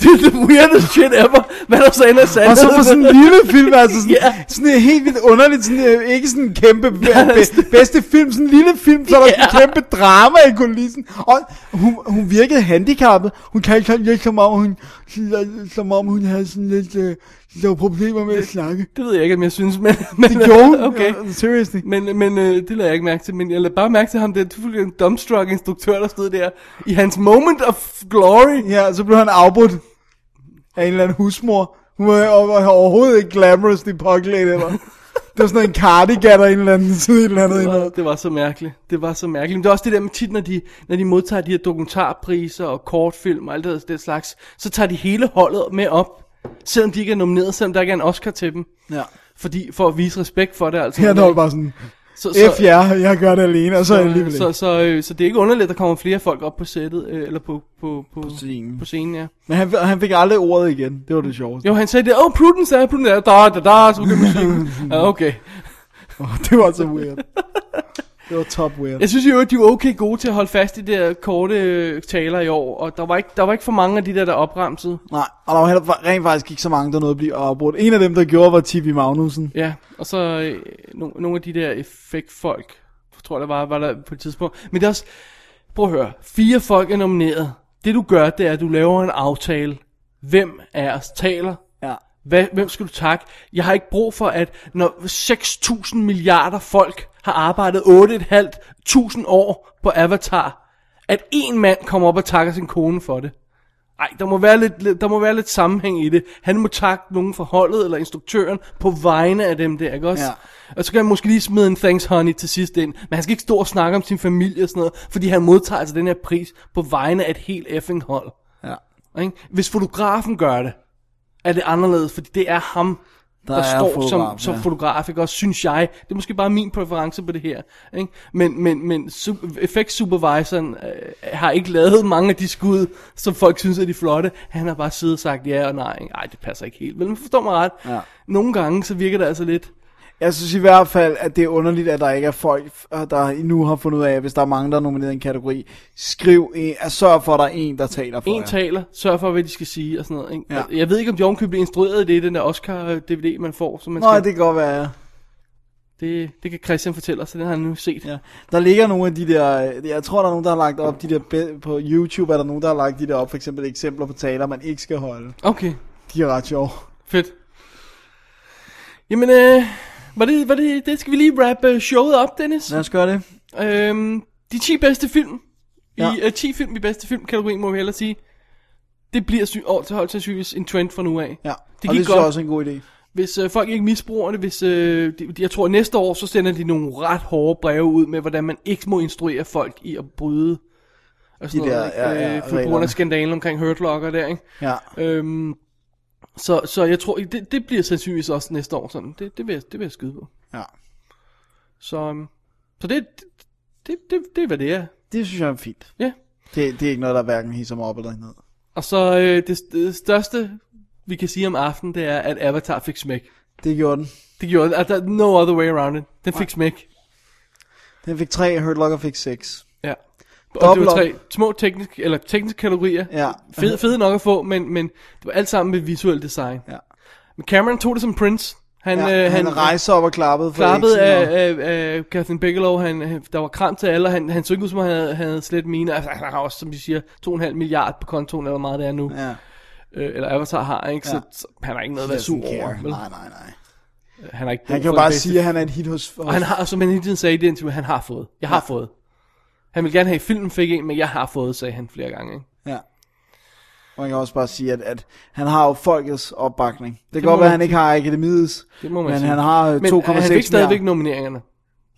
Det er the weirdest shit ever. Hvad der så ender sandt. Og så på sådan en lille film, altså sådan, yeah. Ja. sådan en helt vildt underligt, sådan, øh, ikke sådan en kæmpe be, altså- bedste film, sådan en lille film, så er der yeah. sådan en kæmpe drama i kulissen. Og hun, hun virkede handicappet. Hun talte sådan lidt som om, hun, som om hun havde sådan lidt øh, der var problemer med at snakke. Det ved jeg ikke, om jeg synes, men... men Det gjorde hun. Okay. Øh, Seriously. Men, men øh, det lader jeg ikke mærke til, men jeg lader bare mærke til ham, det er selvfølgelig en dumbstruck instruktør, der stod der i hans moment of glory. Ja, så blev han afbrudt af en eller anden husmor. Hun var, var overhovedet ikke glamorous, det påklædt, eller? Det var sådan en cardigan og en eller anden, sådan et eller andet. Det indhold. var, det var så mærkeligt. Det var så mærkeligt. Men det er også det der med tit, når de, når de modtager de her dokumentarpriser og kortfilm og alt det, det slags, så tager de hele holdet med op, selvom de ikke er nomineret, selvom der ikke er en Oscar til dem. Ja. Fordi, for at vise respekt for det. Altså, Her der var det bare sådan, så, F jer, jeg gør det alene, og så alligevel så, så, ikke. så, øh, så det er ikke underligt, at der kommer flere folk op på sættet, øh, eller på, på, på, på, scenen. på scenen ja. Men han, han fik aldrig ordet igen, det var det sjoveste. Jo, han sagde det, oh, Prudence er, Prudence er, da, da, da, så begyndte musikken. ja, okay. Oh, det var så weird. det var top weird. Jeg synes jo, at de var okay gode til at holde fast i de der korte øh, taler i år, og der var ikke, der var ikke for mange af de der, der opremsede. Nej, og der var heller, rent faktisk ikke så mange, der nåede at blive afbrudt. En af dem, der gjorde, var Tibi Magnussen. Ja, og så øh, no, nogle af de der effektfolk, tror jeg, der var, var der på et tidspunkt. Men det er også, prøv at høre, fire folk er nomineret. Det du gør, det er, at du laver en aftale. Hvem af os taler? Ja. Hvad, hvem skal du takke? Jeg har ikke brug for, at når 6.000 milliarder folk har arbejdet 8.500 år på Avatar, at en mand kommer op og takker sin kone for det. Ej, der må, være lidt, der må være lidt sammenhæng i det. Han må takke nogen fra holdet eller instruktøren på vegne af dem der, ikke også? Ja. Og så kan han måske lige smide en thanks honey til sidst ind. Men han skal ikke stå og snakke om sin familie og sådan noget, fordi han modtager altså den her pris på vegne af et helt effing hold. Ja. Ikke? Hvis fotografen gør det, er det anderledes, fordi det er ham, der, Der der er står som, fotografen, som ja. fotograf, ikke? også synes jeg. Det er måske bare min præference på det her. Ikke? Men, men, men su- effektsupervisoren øh, har ikke lavet mange af de skud, som folk synes er de flotte. Han har bare siddet og sagt ja og nej. Ikke? Ej, det passer ikke helt. Men man forstår mig ret. Ja. Nogle gange, så virker det altså lidt... Jeg synes i hvert fald, at det er underligt, at der ikke er folk, der endnu har fundet ud af, hvis der er mange, der er nomineret i en kategori, skriv, en, at sørg for, at der er en, der taler for En jer. taler, sørg for, hvad de skal sige og sådan noget. Ikke? Ja. Jeg ved ikke, om de ovenkøbet bliver instrueret i det, i den der Oscar-DVD, man får. Som man Nå, skal... det kan godt være, ja. det... det... kan Christian fortælle os, så den har han nu set. ja. Der ligger nogle af de der, øh, jeg tror, der er nogen, der har lagt op de der, be- på YouTube er der nogen, der har lagt de der op, for eksempel eksempler på taler, man ikke skal holde. Okay, De er ret sjove. Fedt. Jamen, øh, var det, var det, det skal vi lige wrap øh, showet op, Dennis. os gøre det. Øhm, de 10 bedste film, ja. Ja. i, øh, 10 film i bedste filmkategorien, må vi hellere sige. Det bliver sy- år til hold sandsynligvis en trend fra nu af. Ja, Det det og gik det synes godt. jeg også er en god idé. Hvis øh, folk ikke misbruger det, hvis, øh, de, de- jeg tror næste år, så sender de nogle ret hårde breve ud med, hvordan man ikke må instruere folk i at bryde. Og sådan De der- noget, ikke? ja, ja, øh, for på grund reglerne. af skandalen omkring Hurt Locker der, ikke? Ja. Øhm, så, så jeg tror, det, det bliver sandsynligvis også næste år sådan. Det, det, vil, jeg, det vil jeg skyde på. Ja. Så, øhm, så det, det, det, det er, hvad det er. Det synes jeg er fint. Ja. Det, det er ikke noget, der hverken hisser mig op eller ned. Og så øh, det, det største, vi kan sige om aftenen, det er, at Avatar fik smæk. Det gjorde den. Det gjorde at der er no other way around it. Den fik smæk. Den fik 3, Hurt Locker fik 6. Ja. Og Dobbelt det var op. tre små tekniske, eller tekniske kategorier. Ja. Fed, fede nok at få, men, men det var alt sammen med visuel design. Ja. Men Cameron tog det som Prince. Han, Ja, øh, han, han rejser op og klappede for klappet X'en og- af, af, af Catherine Bigelow, han, han- der var kram til alle, og han, han så ikke ud som om han havde, han havde slet mine, altså, han har også, som de siger, 2,5 milliard på kontoen, eller hvor meget det er nu, ja. Ja. øh, eller Avatar har, ikke? Så, Ja. så han har ikke noget at være sur over, vel? Nej, nej, nej. Han har ikke brug Han kan jo for den bare bedste. sige, at han er et hit hos... hos Og han har, som han hele tiden sagde i det interview, han har fået, jeg har ja. fået. Han ville gerne have, at filmen fik en, men jeg har fået, sagde han flere gange, ikke? Ja. Og man kan også bare sige, at, at han har jo folkets opbakning. Det, kan må godt være, man at han ikke har akademiets, Det må man men sige. han har øh, 2,6 Men han fik stadigvæk mere. nomineringerne.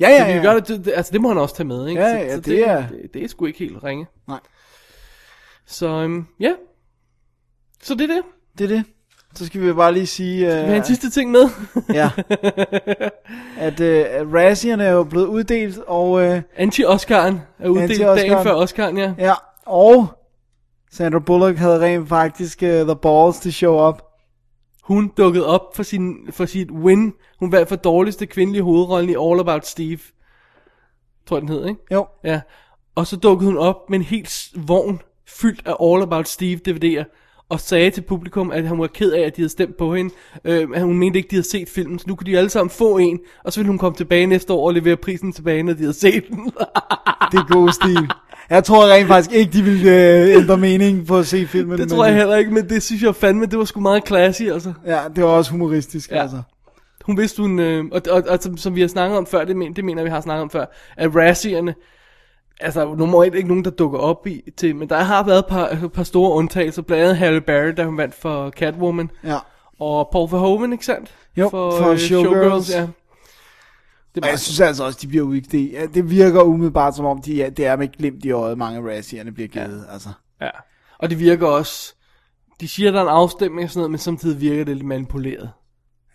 Ja, Ja, ja, ja, ja. ja. Gør det, det, det, altså det må han også tage med, ikke? Ja, ja, det er- Det, det er sgu ikke helt ringe. Nej. Så øhm, ja. Så det er det. Det er det. Så skal vi bare lige sige, Vi har en øh, sidste ting med. ja, at øh, Razzierne er jo blevet uddelt, og øh, Anti-Oscar'en er uddelt dagen Anti-Oscar'en. før Oscar'en, ja. ja, og Sandra Bullock havde rent faktisk øh, The Balls to show up. Hun dukkede op for, sin, for sit win. Hun vandt for dårligste kvindelige hovedrollen i All About Steve. Tror jeg, den hed, ikke? Jo, Ja. Og så dukkede hun op med en helt s- vogn fyldt af All About Steve DVD'er. Og sagde til publikum, at han var ked af, at de havde stemt på hende. Øh, at hun mente ikke, de havde set filmen. Så nu kunne de alle sammen få en. Og så ville hun komme tilbage næste år og levere prisen tilbage, når de havde set den. det er god stil. Jeg tror rent faktisk ikke, de ville øh, ændre mening på at se filmen. det men- øh, tror jeg heller ikke, men det synes jeg fandme, det var sgu meget classy, altså. Ja, det var også humoristisk, Ja. ja. altså. Hun vidste hun, øh, og, og, og som, som vi har snakket om før, det, men, det mener vi har snakket om før, at razzierne, altså nummer et ikke nogen, der dukker op i til, men der har været et par, et par store undtagelser, blandt andet Halle Berry, da hun vandt for Catwoman, Ja. og Paul Verhoeven, ikke sandt? øh, Jo, for Showgirls. ja. Det Og jeg synes altså også, de bliver weak. Det, ja, det virker umiddelbart, som om de, ja, det er med et glimt i øjet, mange af razzierne bliver givet. Ja. Altså. Ja. Og det virker også... De siger, der er en afstemning og sådan noget, men samtidig virker det lidt manipuleret.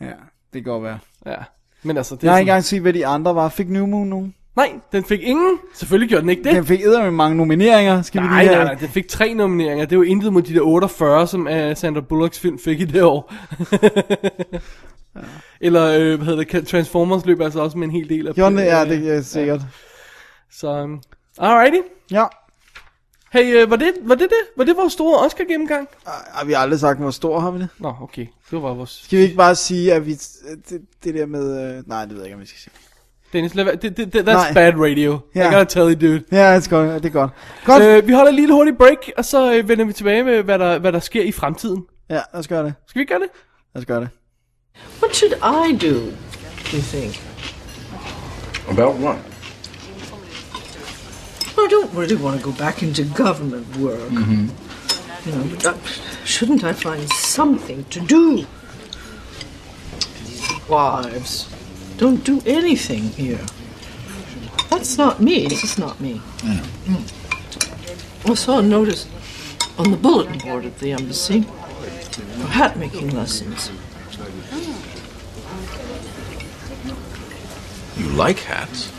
ja, det kan godt være. Ja. Men altså, det Jeg er har sådan, ikke engang set, hvad de andre var. Fik New Moon nogen? Nej, den fik ingen. Selvfølgelig gjorde den ikke det. Den fik edder med mange nomineringer, skal vi Nej, lige nej, have. nej, den fik tre nomineringer. Det er jo intet mod de der 48, som uh, Sandra Bullocks film fik i det år. Eller, øh, hvad hedder det, Transformers løb altså også med en hel del af... John, ja, det er sikkert. Så, um, alrighty. Ja. Hey, øh, var, det, var det det? Var det vores store Oscar-gennemgang? Ej, vi har aldrig sagt, hvor stor har vi det? Nå, okay. Det var vores... Skal vi ikke bare sige, at vi... Det, det der med... Øh, nej, det ved jeg ikke, om vi skal sige. Dennis, lad være. Det, det, det, that's Nej. bad radio. Ja. I gotta tell you, dude. Ja, det er godt. Det er godt. godt. Øh. Øh, vi holder lige et hurtigt break, og så øh, vender vi tilbage med, hvad der, hvad der sker i fremtiden. Ja, lad os gøre det. Skal vi gøre det? Lad os gøre det. What should I do, do you think? About what? Well, I don't really want to go back into government work. You know, but I- shouldn't I find something to do? These wives don't do anything here. That's not me. This is not me. Mm. I saw a notice on the bulletin board at the embassy for hat making lessons. You like hats?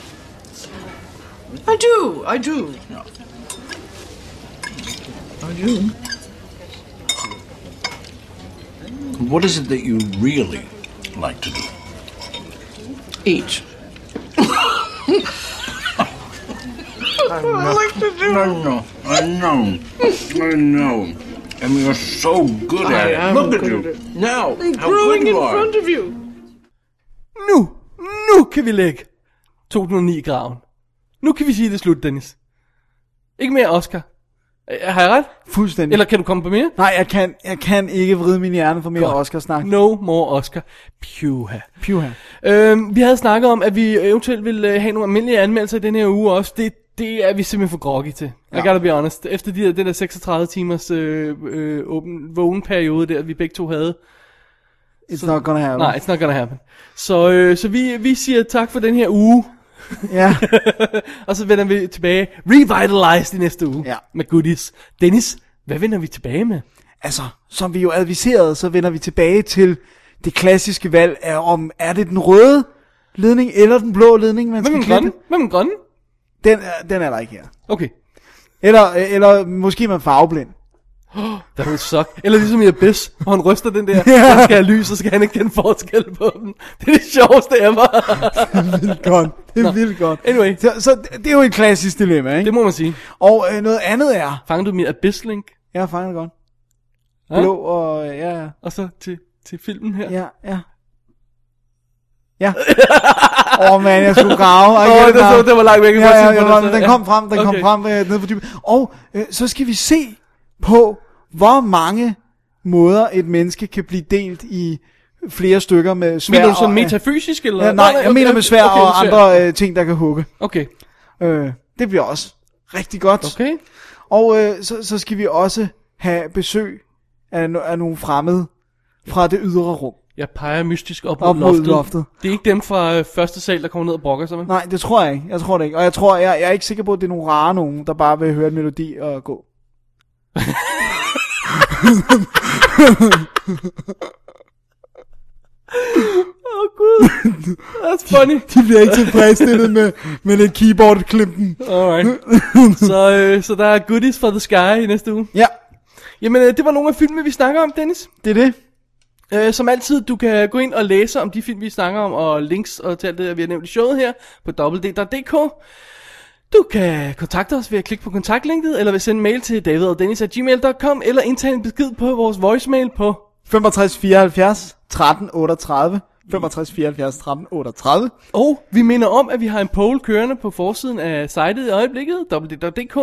I do. I do. I do. What is it that you really like to do? Eat. I like to do. I know, I know, I know. And we are so good I at am it. Look at good you at it. now. They're how good growing in you are. front of you. Nu! Nu kan vi lægge 2009 i graven. Nu kan vi sige, at det er slut, Dennis. Ikke mere Oscar. Øh, har jeg ret? Fuldstændig. Eller kan du komme på mere? Nej, jeg kan, jeg kan ikke vride min hjerne for mere Godt. Oscar-snak. No more Oscar. Puha. Piv Øhm, vi havde snakket om, at vi eventuelt ville øh, have nogle almindelige anmeldelser i den her uge også. Det, det er vi simpelthen for groggy til. Ja. I gotta be honest. Efter de der, den der 36 timers øh, øh, åben, vågen periode der, vi begge to havde. It's not gonna happen. Nej, it's not gonna happen. Så, øh, så vi, vi siger tak for den her uge. Ja. og så vender vi tilbage revitalized i næste uge Ja. med goodies. Dennis, hvad vender vi tilbage med? Altså, som vi jo adviserede, så vender vi tilbage til det klassiske valg af, om er det den røde ledning eller den blå ledning, man Hvem skal er den grønne? klippe. Hvem er den grønne? Den, er- den er der ikke her. Okay. Eller, øh, eller måske er man farveblind. That would suck. Eller ligesom i Abyss, hvor han ryster den der, han skal have lys, og så skal han ikke kende forskel på den. Det er det sjoveste ever. vildt godt. Det er vildt godt. Anyway. Så, så det er jo et klassisk dilemma, ikke? det må man sige. Og øh, noget andet er... Fanger du min Abyss-link, Jeg har fanget godt. Ja. Blå og... øh, Ja, ja. og så til, til filmen her? Ja, ja. Ja. Åh, oh, man, jeg skulle grave. Åh, Åh, det, så, det var langt væk. Ja, Jeg må sige, ja, hvor ja, det ja, så- den ja. kom frem, den okay. kom Okay. frem øh, nede på dybet. Og øh, så skal vi se på, hvor mange måder et menneske kan blive delt i flere stykker med svær Mener du sådan og, øh, metafysisk, eller? Ja, nej, jeg okay, mener med svær okay, og svær. andre øh, ting, der kan hugge. Okay, Øh, det bliver også rigtig godt. okay. Og øh, så, så skal vi også have besøg af, no- af nogle fremmede fra det ydre rum. Jeg peger mystisk op, Op op mod mod loftet. loftet. Det er ikke dem fra øh, første sal, der kommer ned og brokker sig, vel? Nej, det tror jeg ikke. Jeg tror det ikke. Og jeg tror, jeg, jeg er ikke sikker på, at det er nogle rare nogen, der bare vil høre en melodi og gå. Åh, oh, gud. That's funny. De bliver ikke tilfredsstillet med, med lidt keyboard-klimpen. Alright. så, øh, så der er goodies fra The Sky i næste uge. Ja, Jamen, øh, det var nogle af filmene, vi snakker om, Dennis. det er det. Øh, som altid, du kan gå ind og læse om de film, vi snakker om, og links og til alt det, vi har nævnt i showet her, på www.dk. Du kan kontakte os ved at klikke på kontaktlinket, eller ved at sende en mail til davidogdennis.gmail.com, eller indtage en besked på vores voicemail på 65 74 13 38. 65 74 13 38. Og vi minder om, at vi har en poll kørende på forsiden af sitet i øjeblikket, www.dk,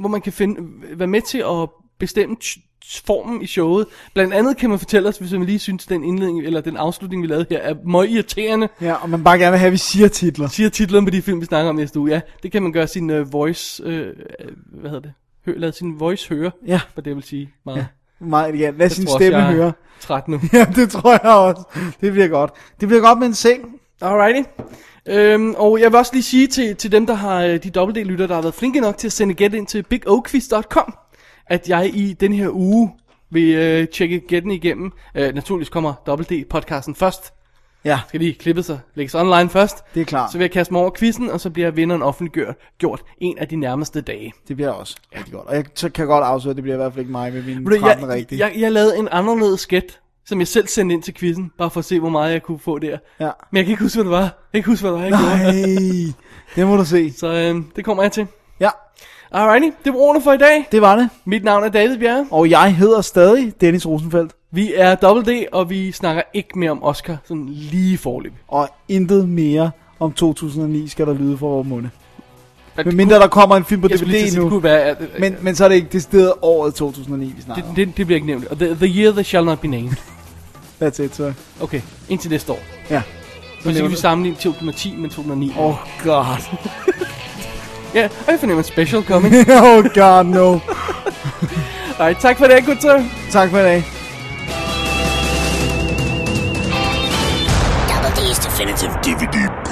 hvor man kan finde, være med til at bestemme t- t- formen i showet. Blandt andet kan man fortælle os, hvis man lige synes, den indledning eller den afslutning, vi lavede her, er meget irriterende. Ja, og man bare gerne vil have, at vi siger titler. Siger titlen på de film, vi snakker om næste uge. Ja, det kan man gøre sin uh, voice... Uh, hvad hedder det? Hø- lad sin voice høre, Ja, hvad det vil sige. Meget. Ja, meget elegant. Lad sin stemme jeg er høre. træt nu. Ja, det tror jeg også. Det bliver godt. Det bliver godt med en seng. Alrighty. Øhm, og jeg vil også lige sige til, til dem, der har øh, de dobbeltdel-lytter, der har været flinke nok til at sende gæt ind til bigoquiz.com, at jeg i den her uge vil øh, tjekke gætten igennem. Øh, naturligvis kommer dobbelt-d-podcasten først. Ja. Skal lige klippe sig, lægges online først. Det er klart. Så vil jeg kaste mig over quizzen, og så bliver vinderen offentliggjort gjort en af de nærmeste dage. Det bliver også rigtig godt. Og jeg så kan jeg godt afsløre, at det bliver i hvert fald ikke mig med min Ved du, kramme jeg, rigtige. jeg, jeg lavede en anderledes gæt, som jeg selv sendte ind til quizzen, bare for at se, hvor meget jeg kunne få der. Ja. Men jeg kan ikke huske, hvad det var. Jeg kan ikke huske, hvad det var, jeg gjorde. Nej, det må du se. Så øhm, det kommer jeg til. Ja, Alrighty, det var ordene for i dag. det var det. Mit navn er David Bjerre. Og jeg hedder stadig Dennis Rosenfeldt. Vi er Double D, og vi snakker ikke mere om Oscar sådan lige forløb. Og intet mere om 2009 skal der lyde fra vores munde. Men mindre der kommer en film på jeg skulle lige til DVD at sige, nu. det kunne være, at, Men, men så er det ikke decideret året 2009, vi snakker det, om. det, det, bliver ikke nævnt. Og the, the year that shall not be named. That's it, så. Okay, indtil næste år. Ja. Så skal nævner vi du- sammenligne 2010 med 2009. Oh god. Ja, og jeg fornemmer en special coming. oh god, no. Alright, tak for det, gutter. tak for i dag. Double D's Definitive DVD